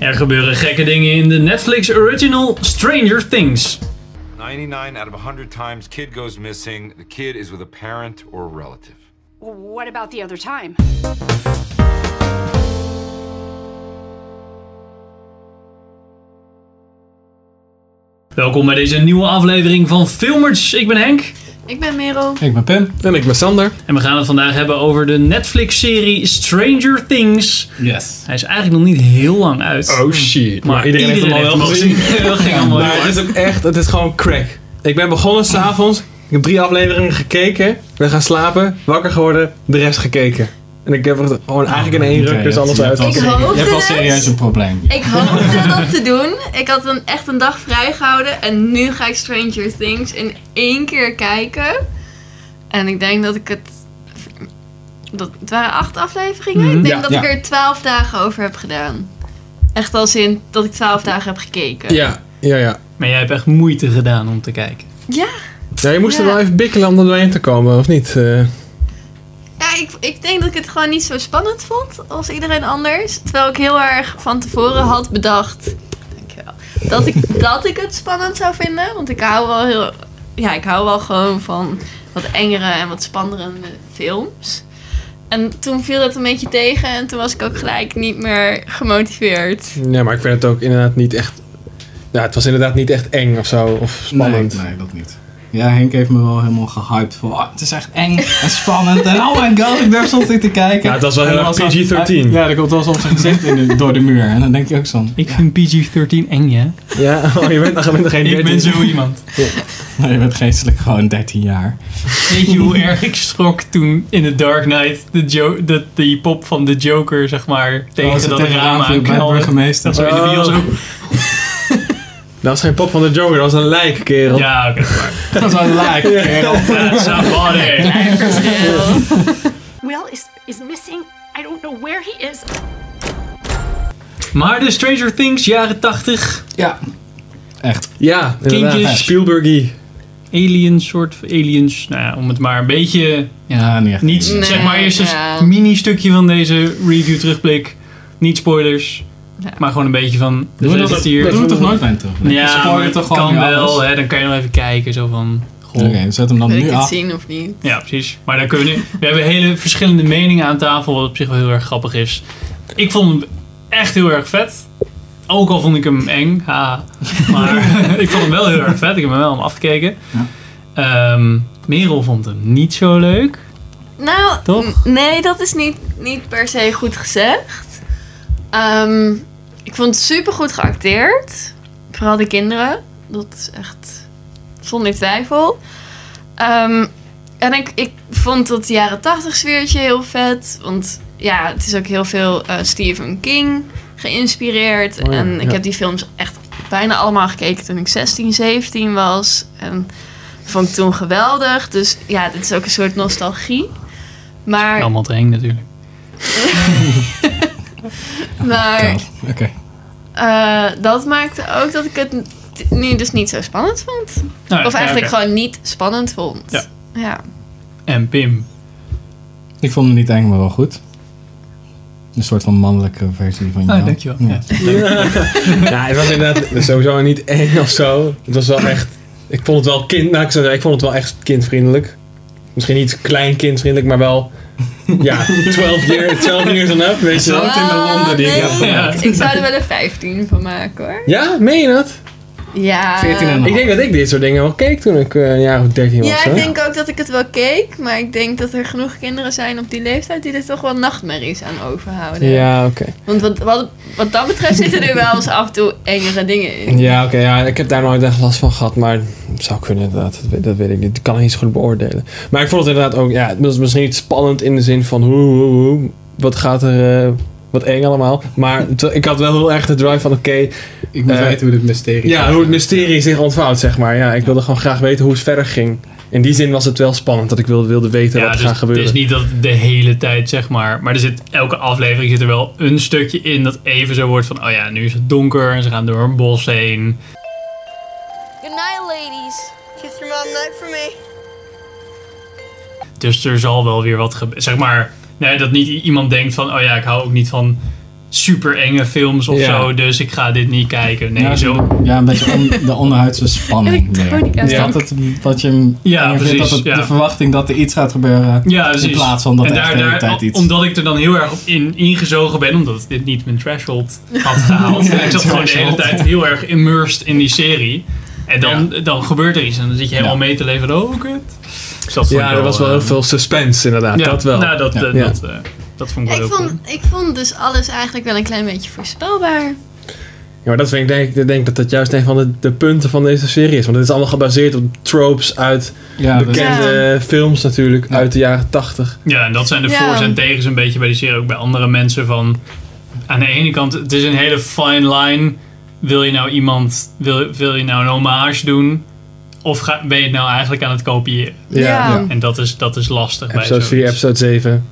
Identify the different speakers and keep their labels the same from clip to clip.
Speaker 1: Er gebeuren gekke dingen in de Netflix original Stranger Things.
Speaker 2: 99 out of 100 times, kid goes missing. The kid is with a parent or a relative.
Speaker 3: Well, what about the other time?
Speaker 1: Welkom bij deze nieuwe aflevering van Filmers. Ik ben Henk
Speaker 4: Ik ben Merel.
Speaker 5: Ik ben Pim.
Speaker 6: En ik ben Sander.
Speaker 1: en we gaan het vandaag hebben over de Netflix-serie Stranger Things.
Speaker 5: Yes.
Speaker 1: Hij is eigenlijk nog niet heel lang uit.
Speaker 6: Oh shit.
Speaker 1: maar iedereen, heeft hem al wel gezien. Dat ging allemaal heel
Speaker 6: Maar het
Speaker 1: hard.
Speaker 6: is ook echt, het is gewoon crack. Ik ben begonnen s'avonds. Ik heb drie afleveringen gekeken. Ben gaan slapen, wakker geworden, de rest gekeken. En ik heb er gewoon eigenlijk in één druk dus alles uit.
Speaker 4: Ik
Speaker 5: Je hebt wel
Speaker 4: hoopte het.
Speaker 5: serieus een probleem.
Speaker 4: Ik hoopte dat te doen. Ik had een, echt een dag vrijgehouden. En nu ga ik Stranger Things in één keer kijken. En ik denk dat ik het... Dat, het waren acht afleveringen. Ik denk
Speaker 6: Ja.
Speaker 4: dat
Speaker 5: Mhm. Ja.
Speaker 4: ik er twaalf dagen over heb gedaan. Echt als in dat ik twaalf dagen heb gekeken.
Speaker 6: Ja, ja, ja.
Speaker 1: Maar jij hebt echt moeite gedaan om te kijken.
Speaker 4: Ja.
Speaker 6: Ja, je moest er
Speaker 4: Ja.
Speaker 6: wel even bikkelen om er doorheen te komen, of niet? Eh,
Speaker 4: Ja, ik, ik denk dat ik het gewoon niet zo spannend vond als iedereen anders. Terwijl ik heel erg van tevoren had bedacht dankjewel, dat ik, dat ik het spannend zou vinden. Want ik hou wel heel. Ja, ik hou wel gewoon van wat engere en wat spannendere films. En toen viel dat een beetje tegen en toen was ik ook gelijk niet meer gemotiveerd.
Speaker 6: ja, maar ik vind het ook inderdaad niet echt... Ja, het was inderdaad niet echt eng of zo, of spannend.
Speaker 5: Nee, nee, dat niet. Ja, Henk heeft me wel helemaal gehyped voor. "Ah, het is echt eng en spannend. en oh my god, ik durf soms niet te kijken.
Speaker 6: Ja, het was wel
Speaker 5: En
Speaker 6: heel
Speaker 5: dan
Speaker 6: erg
Speaker 5: was dat-
Speaker 6: PG-13.
Speaker 5: Ja, er komt wel soms een gezicht in de- door de muur. En dan denk je ook zo.
Speaker 1: Ik vind PG-13 eng, ja?
Speaker 6: Ja, oh, je bent, nog- je bent er geen
Speaker 1: Ik ben
Speaker 6: 13.
Speaker 1: zo iemand.
Speaker 5: Nee, je bent geestelijk gewoon 13 jaar.
Speaker 1: Weet je hoe erg ik schrok toen in The Dark Knight de, jo- de, die pop van de Joker, zeg maar,
Speaker 5: Als
Speaker 1: tegen
Speaker 5: het
Speaker 1: dat raam
Speaker 5: aanviel bij de
Speaker 1: aanknalde?
Speaker 5: burgemeester.
Speaker 1: Dat zo in de
Speaker 6: Oh.
Speaker 1: bios ook.
Speaker 6: Dat was geen pop van de Joker, dat was een lijk,
Speaker 5: Oh.
Speaker 6: kerel.
Speaker 1: Ja, oké.
Speaker 5: Dat was een like, kerel.
Speaker 1: That's a body.
Speaker 3: Will is is missing. I don't know where he is.
Speaker 1: Maar de Stranger Things, jaren 80.
Speaker 5: Ja. Echt.
Speaker 6: Ja,
Speaker 1: Kindjes.
Speaker 6: inderdaad. Spielberg-y.
Speaker 1: Aliens, soort van aliens. Nou ja, om het maar een beetje.
Speaker 5: Ja, niet echt.
Speaker 1: Niet,
Speaker 4: Nee,
Speaker 1: zeg maar, eerst een
Speaker 4: ja.
Speaker 1: mini-stukje van deze review terugblik. Niet spoilers.
Speaker 4: Ja.
Speaker 1: Maar gewoon een beetje van.
Speaker 5: Doen we
Speaker 1: dus
Speaker 5: dat,
Speaker 1: is hier.
Speaker 5: dat doen we toch nooit bij een terugblik?
Speaker 1: ja,
Speaker 5: We spoilen
Speaker 1: maar
Speaker 5: toch gewoon
Speaker 1: kan
Speaker 5: nu alles?
Speaker 1: wel. Hè, dan kan je nog even kijken. Zo van. Goh.
Speaker 5: Oké, zet hem dan
Speaker 4: Wil ik
Speaker 5: nu
Speaker 4: het
Speaker 5: af.
Speaker 4: zien of niet?
Speaker 1: Ja, precies. Maar dan kunnen we nu. We hebben hele verschillende meningen aan tafel, wat op zich wel heel erg grappig is. Ik vond hem echt heel erg vet. Ook al vond ik hem eng. Ha. Maar ik vond hem wel heel erg vet. Ik heb hem wel om afgekeken. Ehm, Merel vond hem niet zo leuk.
Speaker 4: Nou,
Speaker 1: Toch?
Speaker 4: n- nee, dat is niet, niet per se goed gezegd. Ehm, ik vond het super goed geacteerd. Vooral de kinderen. Dat is echt zonder twijfel. Ehm, en ik, ik vond dat jaren tachtig sfeertje heel vet. Want ja, het is ook heel veel eh, Stephen King geïnspireerd.
Speaker 6: Oh ja,
Speaker 4: en ik
Speaker 6: ja.
Speaker 4: heb die films echt bijna allemaal gekeken toen ik 16, 17 was. En vond ik toen geweldig. Dus ja, dit is ook een soort nostalgie. Maar,
Speaker 1: Allemaal te eng natuurlijk.
Speaker 4: maar
Speaker 5: Oké.
Speaker 4: eh, dat maakte ook dat ik het nu dus niet zo spannend vond.
Speaker 1: Nou ja,
Speaker 4: Of eigenlijk
Speaker 1: ja, oké.
Speaker 4: gewoon niet spannend vond.
Speaker 1: Ja.
Speaker 4: ja.
Speaker 1: En Pim.
Speaker 5: Ik vond hem niet eng, maar wel goed. Een soort van mannelijke versie van jou.
Speaker 1: Ah, dankjewel.
Speaker 5: Ja.
Speaker 1: Ja.
Speaker 6: Ja, het was inderdaad sowieso niet eng of zo. Het was wel echt. Ik vond het wel kind. Nou, ik, zou zeggen, ik vond het wel echt kindvriendelijk. Misschien niet klein kindvriendelijk, maar wel. Ja, 12, year, 12 years and up, weet je wel.
Speaker 5: in de Londen die ik
Speaker 4: Ah, nee,
Speaker 5: heb
Speaker 1: gemaakt.
Speaker 4: ik- Ik zou er wel een 15 van maken hoor.
Speaker 6: Ja, meen je dat?
Speaker 4: Ja.
Speaker 5: 14 en een
Speaker 6: Eh, Ik denk dat ik dit soort dingen wel keek toen ik eh, een jaar of 13 was.
Speaker 4: Ja,
Speaker 6: hè?
Speaker 4: ik denk ook dat ik het wel keek. Maar ik denk dat er genoeg kinderen zijn op die leeftijd die er toch wel nachtmerries aan overhouden.
Speaker 6: Ja, oké.
Speaker 4: Want wat, wat, wat dat betreft zitten er wel eens af en toe engere dingen in.
Speaker 6: Ja, oké. ja, ik heb daar nooit echt last van gehad, maar het zou kunnen inderdaad. Dat weet, dat weet ik niet. Ik kan het niet zo goed beoordelen. Maar ik vond het inderdaad ook, ja, het was misschien niet spannend in de zin van hoe, hoe, hoe, wat gaat er, eh, wat eng allemaal. Maar het- ik had wel heel erg de drive van, oké,
Speaker 5: Ik moet
Speaker 6: Eh,
Speaker 5: weten hoe dit mysterie
Speaker 6: ja, hoe het mysterie zich ontvouwt, zeg maar. Ja, ik wilde gewoon graag weten hoe het verder ging. In die zin was het wel spannend dat ik wilde, wilde weten
Speaker 1: Ja,
Speaker 6: wat
Speaker 1: dus
Speaker 6: er gaat
Speaker 1: het
Speaker 6: gebeuren.
Speaker 1: is niet dat de hele tijd, zeg maar. Maar er zit, elke aflevering zit er wel een stukje in dat even zo wordt van... Oh ja, nu is het donker en ze gaan door een bos heen.
Speaker 7: Good night, ladies. Kiss your mom night for me.
Speaker 1: Dus er zal wel weer wat gebeuren. Zeg maar, nee, dat niet i- iemand denkt van... Oh ja, ik hou ook niet van super enge films of
Speaker 6: Ja.
Speaker 1: zo. Dus ik ga dit niet kijken. Nee,
Speaker 5: ja,
Speaker 1: zo.
Speaker 5: Ja, een beetje on- de onderhuidse spanning. meer.
Speaker 4: Elektronica.
Speaker 5: Is dat het, wat je hem
Speaker 1: Ja,
Speaker 5: enger vindt?
Speaker 1: precies,
Speaker 5: Dat het-
Speaker 1: ja.
Speaker 5: de verwachting dat er iets gaat gebeuren.
Speaker 1: Ja, precies.
Speaker 5: In plaats van dat
Speaker 1: en
Speaker 5: echt de hele tijd iets-
Speaker 1: Omdat ik er dan heel erg op in, ingezogen ben, omdat dit niet mijn threshold had gehaald.
Speaker 5: Ja,
Speaker 1: ik zat gewoon de hele
Speaker 5: threshold.
Speaker 1: tijd heel erg immersed in die serie. En dan, dan gebeurt er iets en dan zit je helemaal
Speaker 5: Ja.
Speaker 1: mee te leven. Oh, kut. Dus dat vond ik
Speaker 6: Ja, er was wel heel
Speaker 1: eh,
Speaker 6: veel suspense inderdaad.
Speaker 1: ja,
Speaker 6: dat wel.
Speaker 1: Nou, dat, eh,
Speaker 5: Ja.
Speaker 1: dat, eh, dat vond ik wel
Speaker 4: Ik
Speaker 1: heel cool.
Speaker 4: vond, ik vond dus alles eigenlijk wel een klein beetje voorspelbaar.
Speaker 6: Ja, maar dat vind ik denk, ik denk dat dat juist een van de, de punten van deze serie is. Want het is allemaal gebaseerd op tropes uit
Speaker 5: Ja, dus-
Speaker 6: bekende films natuurlijk.
Speaker 5: Ja.
Speaker 6: Uit de jaren tachtig.
Speaker 1: Ja, en dat zijn de
Speaker 4: Ja.
Speaker 1: voor's en tegens een beetje bij die serie. Ook bij andere mensen van... Aan de ene kant, het is een hele fine line. Wil je nou iemand... Wil, wil je nou een hommage doen? Of ga, ben je het nou eigenlijk aan het kopiëren?
Speaker 5: ja.
Speaker 1: En dat is, dat is lastig
Speaker 6: Episode
Speaker 1: bij
Speaker 6: 4,
Speaker 1: zoiets.
Speaker 6: episode 7.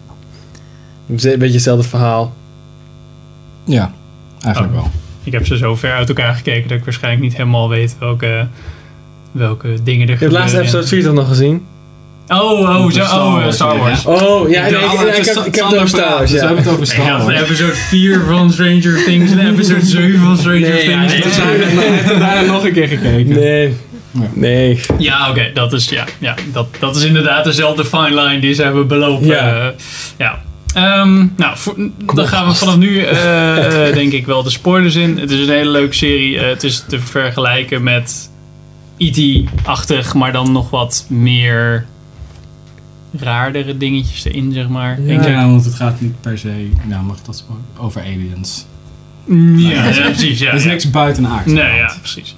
Speaker 6: Een beetje hetzelfde verhaal.
Speaker 5: ja, eigenlijk wel.
Speaker 1: Ik heb ze zo ver uit elkaar gekeken dat ik waarschijnlijk niet helemaal weet welke... Welke dingen er
Speaker 6: Je hebt
Speaker 1: gebeuren.
Speaker 6: laatste episode
Speaker 1: en-
Speaker 6: 4 dan nog gezien?
Speaker 1: Oh, oh, zo,
Speaker 5: Star
Speaker 1: oh eh,
Speaker 5: Wars,
Speaker 1: Star
Speaker 5: ja.
Speaker 1: Wars.
Speaker 6: Oh, ja, nee,
Speaker 5: Ja,
Speaker 6: ik,
Speaker 5: maar het
Speaker 6: ik
Speaker 5: is
Speaker 6: heb,
Speaker 5: Sa-
Speaker 6: ik heb
Speaker 5: Sander
Speaker 6: het over Star
Speaker 5: Praat,
Speaker 6: Wars,
Speaker 5: dus we
Speaker 6: ja.
Speaker 5: hebben het over
Speaker 1: Ik
Speaker 5: Star
Speaker 1: had
Speaker 5: Wars.
Speaker 1: episode 4 van Stranger Things en episode 7 van Stranger
Speaker 6: Nee, ja,
Speaker 1: Things.
Speaker 6: nee,
Speaker 5: Dus hij heeft- hij heeft er daarna nog een keer gekeken.
Speaker 6: Nee. Nee.
Speaker 1: Ja, oké, dat is ja, ja, dat, dat is inderdaad dezelfde fine line die ze hebben belopen.
Speaker 6: Ja.
Speaker 1: Eh, ja. Ehm, nou, voor- dan gaan we vanaf nu eh, eh, denk ik wel de spoilers in. Het is een hele leuke serie. Eh, het is te vergelijken met E.T.-achtig, maar dan nog wat meer raardere dingetjes erin, zeg maar.
Speaker 5: Ik
Speaker 1: Ik denk-
Speaker 5: denk want het gaat niet per se, nou mag ik dat zo- over aliens.
Speaker 1: ja, ja, precies. Ja,
Speaker 5: Er is
Speaker 1: ja.
Speaker 5: niks buitenaards.
Speaker 1: Nee, ja, precies.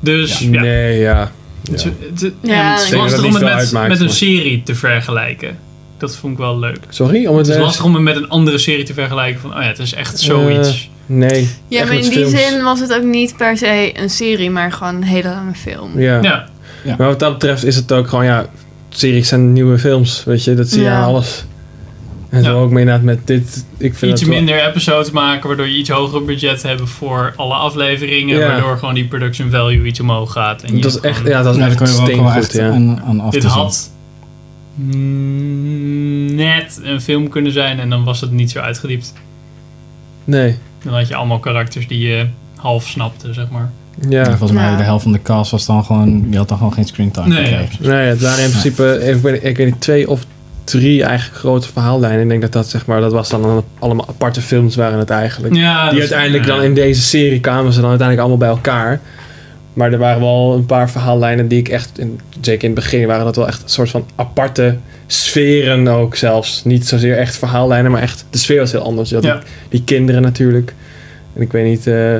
Speaker 1: Dus ja,
Speaker 6: Nee, ja.
Speaker 1: Het,
Speaker 6: Ja.
Speaker 1: het- het-
Speaker 4: Ja,
Speaker 1: ja, het
Speaker 4: ik
Speaker 1: is
Speaker 4: denk
Speaker 1: lastig
Speaker 6: dat het
Speaker 1: om
Speaker 6: niet
Speaker 1: het
Speaker 6: veel
Speaker 1: met,
Speaker 6: uitmaakt,
Speaker 1: met een
Speaker 6: maar-
Speaker 1: serie te vergelijken. Dat vond ik wel leuk.
Speaker 6: Sorry? Om het,
Speaker 1: Het is
Speaker 6: eh,
Speaker 1: lastig om het met een andere serie te vergelijken. Van, oh ja, het is echt zoiets.
Speaker 6: Nee.
Speaker 4: Ja,
Speaker 6: echt
Speaker 4: maar in
Speaker 6: met
Speaker 4: die
Speaker 6: films.
Speaker 4: zin was het ook niet per se een serie, maar gewoon een hele lange film.
Speaker 6: Ja.
Speaker 1: ja.
Speaker 6: Maar wat dat betreft is het ook gewoon, ja, series zijn nieuwe films, weet je, dat zie je
Speaker 4: Ja.
Speaker 6: aan alles. En
Speaker 1: Ja.
Speaker 6: zo ook mee inderdaad met dit, ik vind
Speaker 1: iets
Speaker 6: dat wel-
Speaker 1: minder episodes maken, waardoor je iets hoger budget hebt voor alle afleveringen.
Speaker 6: Ja.
Speaker 1: Waardoor gewoon die production value iets omhoog gaat. En je
Speaker 6: dat is
Speaker 1: gewoon-
Speaker 6: echt, ja, dat is
Speaker 5: Ja, daar
Speaker 6: echt
Speaker 5: kun je wel gewoon
Speaker 6: steengoed,
Speaker 5: echt
Speaker 6: ja.
Speaker 5: aan, aan af
Speaker 1: Dit
Speaker 5: te zien.
Speaker 1: had mm, net een film kunnen zijn en dan was het niet zo uitgediept.
Speaker 6: Nee,
Speaker 1: Dan had je allemaal karakters die je half snapte, zeg maar.
Speaker 5: Ja,
Speaker 6: ja.
Speaker 5: Volgens mij
Speaker 4: Ja.
Speaker 5: de helft van de cast was dan gewoon, die had dan gewoon geen screentime
Speaker 1: Nee,
Speaker 5: gekregen.
Speaker 6: Nee, het waren in principe, ik weet, ik weet niet, twee of drie eigenlijk grote verhaallijnen. Ik denk dat dat, zeg maar, dat was dan een- allemaal aparte films waren het eigenlijk.
Speaker 1: Ja, dat
Speaker 6: Die
Speaker 1: is-
Speaker 6: uiteindelijk
Speaker 1: ja.
Speaker 6: dan in deze serie kwamen ze dan uiteindelijk allemaal bij elkaar. Maar er waren wel een paar verhaallijnen die ik echt, in- zeker in het begin waren dat wel echt een soort van aparte sferen ook zelfs. Niet zozeer echt verhaallijnen, maar echt de sfeer was heel anders. Je had
Speaker 1: Ja.
Speaker 6: die, die kinderen natuurlijk. En ik weet niet, eh,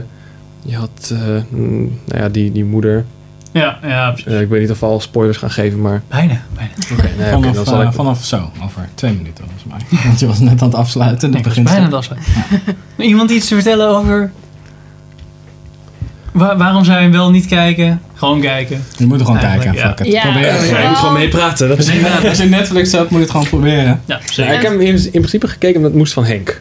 Speaker 6: je had, eh, mm, nou ja, die, die moeder.
Speaker 1: Ja, ja, precies.
Speaker 6: Eh, ik weet niet of we al spoilers gaan geven, maar...
Speaker 1: Bijna, bijna.
Speaker 6: Oké, nee, oké,
Speaker 5: Vanaf,
Speaker 6: dan zal
Speaker 5: eh,
Speaker 6: ik-
Speaker 5: vanaf zo, over twee minuten volgens mij. Want je was net aan het afsluiten en
Speaker 1: Nee,
Speaker 5: dat
Speaker 1: ik was
Speaker 5: begint
Speaker 1: bijna dat Iemand iets te vertellen over... Wa- waarom zou je hem wel niet kijken? Gewoon kijken.
Speaker 5: Je moet er gewoon
Speaker 1: Eigenlijk,
Speaker 5: kijken.
Speaker 1: ja.
Speaker 5: Fuck it.
Speaker 4: Ja.
Speaker 5: Probeer het.
Speaker 4: Ja.
Speaker 6: Ja, je moet gewoon meepraten. Dat is...
Speaker 1: Nee, ja,
Speaker 5: Als je Netflix hebt, moet je het gewoon proberen.
Speaker 1: ja,
Speaker 6: Ja,
Speaker 1: zeker.
Speaker 6: ik heb hem in, in principe gekeken omdat het moest van Henk.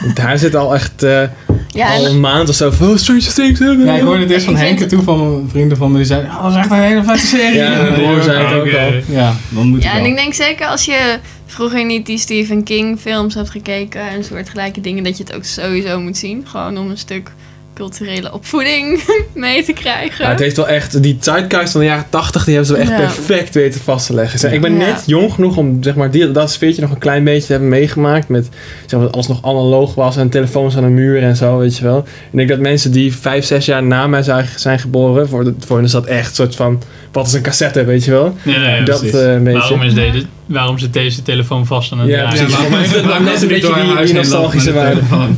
Speaker 6: Want Daar zit al echt eh,
Speaker 4: Ja,
Speaker 6: al
Speaker 4: en
Speaker 6: een maand of zo van... Oh, Stranger Things. eh, eh.
Speaker 5: Ja, ik hoorde het eerst van
Speaker 4: Ik vind-
Speaker 5: Henk en toen van mijn vrienden van me. Die zeiden, oh, dat is echt een hele vette serie.
Speaker 6: Ja, mijn broer zei het ook
Speaker 1: Oké.
Speaker 6: al.
Speaker 5: Ja, dan moet
Speaker 4: Ja,
Speaker 5: het
Speaker 4: en
Speaker 5: wel.
Speaker 4: ik denk zeker als je vroeger niet die Stephen King films hebt gekeken en soortgelijke dingen, dat je het ook sowieso moet zien. Gewoon om een stuk culturele opvoeding mee te krijgen.
Speaker 6: Ja, het heeft wel echt... Die zeitgeist van de jaren 80, die hebben ze wel echt
Speaker 4: Ja.
Speaker 6: perfect weten vast te leggen. Zeg,
Speaker 5: Ja.
Speaker 6: Ik ben
Speaker 4: Ja.
Speaker 6: net jong genoeg om zeg maar, die, dat sfeertje nog een klein beetje te hebben meegemaakt. Met zeg maar, dat alles nog analoog was en telefoons aan de muur en zo, weet je wel. Ik denk dat mensen die vijf, zes jaar na mij zijn, zijn geboren... Voor, de- voor hen is dat echt een soort van... Wat is een cassette, weet je wel?
Speaker 1: Ja, ja, ja.
Speaker 6: dat
Speaker 5: precies.
Speaker 6: eh, een beetje.
Speaker 1: Waarom, is deze, waarom zit deze telefoon vast aan het
Speaker 6: Ja,
Speaker 1: draaien?
Speaker 6: precies.
Speaker 1: Ja,
Speaker 6: Voor mij is het
Speaker 5: Waarom
Speaker 6: net een
Speaker 5: mensen
Speaker 6: beetje
Speaker 5: door
Speaker 6: die-
Speaker 5: hun huis
Speaker 6: die
Speaker 5: heen lopen
Speaker 6: nostalgische
Speaker 5: met een
Speaker 6: waarde.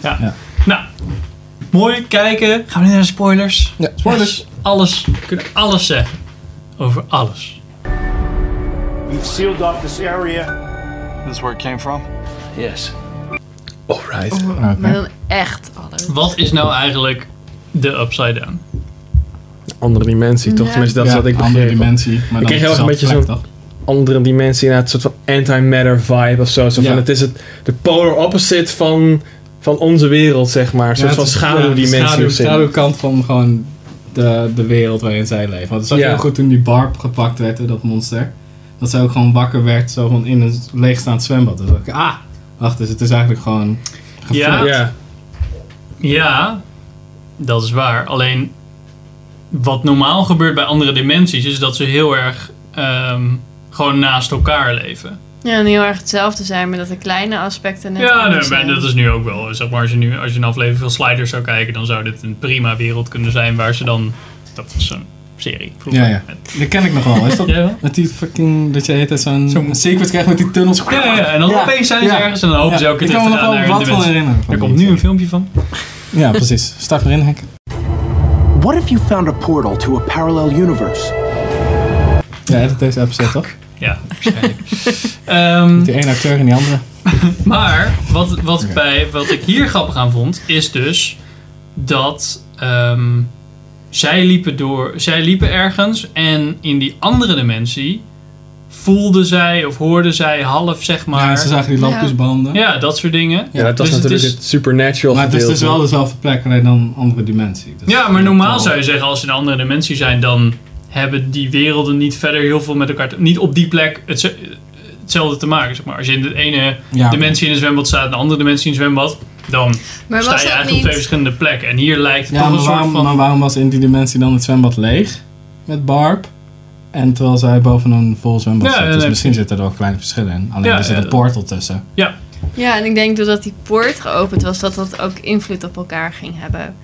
Speaker 5: telefoon.
Speaker 1: Nou, mooi kijken. Gaan we nu naar de spoilers?
Speaker 5: Ja, spoilers.
Speaker 1: Yes, Alles, we kunnen alles zeggen. Over alles.
Speaker 8: We've sealed off this area.
Speaker 6: Alright.
Speaker 5: Oké.
Speaker 4: Maar dan echt alles.
Speaker 1: Wat is nou eigenlijk de upside down?
Speaker 6: Andere dimensie, toch?
Speaker 4: Ja.
Speaker 6: Tenminste, dat is
Speaker 5: Ja,
Speaker 6: wat ik
Speaker 5: andere
Speaker 6: begreep.
Speaker 5: dimensie. Maar dan
Speaker 6: kreeg heel erg een beetje
Speaker 5: dezelfde
Speaker 6: zo'n-
Speaker 5: plek, toch?
Speaker 6: Andere dimensie, inderdaad, een soort van anti-matter vibe of zo. zo
Speaker 5: Ja.
Speaker 6: van, het is het, de polar opposite van, van onze wereld, zeg maar. Een soort
Speaker 5: Ja,
Speaker 6: van
Speaker 5: het is-
Speaker 6: schaduwdimensie.
Speaker 5: ja, schaduw-
Speaker 6: of zo.
Speaker 5: schaduwkant van gewoon de, de wereld waarin zij leven. Want dat zag je
Speaker 6: Ja.
Speaker 5: heel goed toen die Barb gepakt werd, hè, dat monster. Dat zij ook gewoon wakker werd zo van in een leegstaand zwembad. Dus dacht ik, ah, wacht eens, het is eigenlijk gewoon
Speaker 1: Ja?
Speaker 6: Ja.
Speaker 1: Ja, dat is waar. Alleen wat normaal gebeurt bij andere dimensies is dat ze heel erg ehm, gewoon naast elkaar leven.
Speaker 4: Ja, en heel erg hetzelfde zijn, maar dat de kleine aspecten net
Speaker 1: ja,
Speaker 4: anders
Speaker 1: nee, maar
Speaker 4: zijn.
Speaker 1: dat is nu ook wel. Zeg maar, als je nu als je een aflevering van Sliders zou kijken, dan zou dit een prima wereld kunnen zijn waar ze dan. Dat was zo'n serie. vroeger.
Speaker 5: Ja, ja. Dat ken ik nog wel. Is dat
Speaker 1: Ja, wel?
Speaker 5: met die fucking, dat je heet het zo'n
Speaker 1: Zo'n-
Speaker 5: een sequence krijgt met die tunnels?
Speaker 1: Ja, ja, ja, en dan
Speaker 5: Ja,
Speaker 1: opeens zijn ze
Speaker 5: ja.
Speaker 1: ergens en dan hopen
Speaker 5: Ja,
Speaker 1: ze elke keer
Speaker 5: ik kan
Speaker 1: terug
Speaker 5: me
Speaker 1: te
Speaker 5: nog
Speaker 1: gaan
Speaker 5: wel
Speaker 1: naar
Speaker 5: wat
Speaker 1: de dimensie.
Speaker 5: van herinneren. van
Speaker 1: Er
Speaker 5: die
Speaker 1: komt nu een filmpje
Speaker 5: serie.
Speaker 1: van.
Speaker 5: Ja, precies. Start erin, Henk.
Speaker 9: What if you found a portal to a parallel universe?
Speaker 5: Ja, dat deze episode toch?
Speaker 1: Ja, waarschijnlijk. Ehm,
Speaker 5: Die ene acteur en die andere.
Speaker 1: Maar wat, wat,
Speaker 5: Oké.
Speaker 1: bij, wat ik hier grappig aan vond, is dus dat ehm, zij, liepen door, zij liepen ergens en in die andere dimensie voelde zij of hoorde zij half, zeg maar.
Speaker 5: Ja, ze zagen die lampjesbanden.
Speaker 1: Ja, dat soort dingen.
Speaker 6: Ja, dat was
Speaker 1: Dus het
Speaker 6: natuurlijk
Speaker 1: is-
Speaker 6: het, supernatural
Speaker 5: Maar het is
Speaker 6: gedeelte.
Speaker 5: dus wel dezelfde plek, alleen dan een andere dimensie. Dus
Speaker 1: Ja, maar normaal
Speaker 5: dat-
Speaker 1: zou je zeggen, als ze in een andere dimensie zijn, dan hebben die werelden niet verder heel veel met elkaar, te- niet op die plek hetze- hetzelfde te maken. Zeg maar. Als je in de ene
Speaker 5: Ja.
Speaker 1: dimensie in een zwembad staat, en de andere dimensie in een zwembad, dan
Speaker 4: Maar
Speaker 1: sta
Speaker 4: was
Speaker 1: je
Speaker 4: dat
Speaker 1: eigenlijk op
Speaker 4: niet...
Speaker 1: twee verschillende plekken. En hier lijkt het
Speaker 5: Ja,
Speaker 1: toch
Speaker 5: maar
Speaker 1: een soort
Speaker 5: waarom,
Speaker 1: van...
Speaker 5: maar waarom was in die dimensie dan het zwembad leeg met Barb? En terwijl zij boven een vol zwembad
Speaker 1: Ja,
Speaker 5: zit. Dus
Speaker 1: nee,
Speaker 5: misschien zitten er wel kleine verschillen in. Alleen
Speaker 1: Ja,
Speaker 5: er zit
Speaker 1: ja,
Speaker 5: een portal tussen.
Speaker 1: Ja,
Speaker 4: Ja, en ik denk doordat die poort geopend was, dat dat ook invloed op elkaar ging hebben.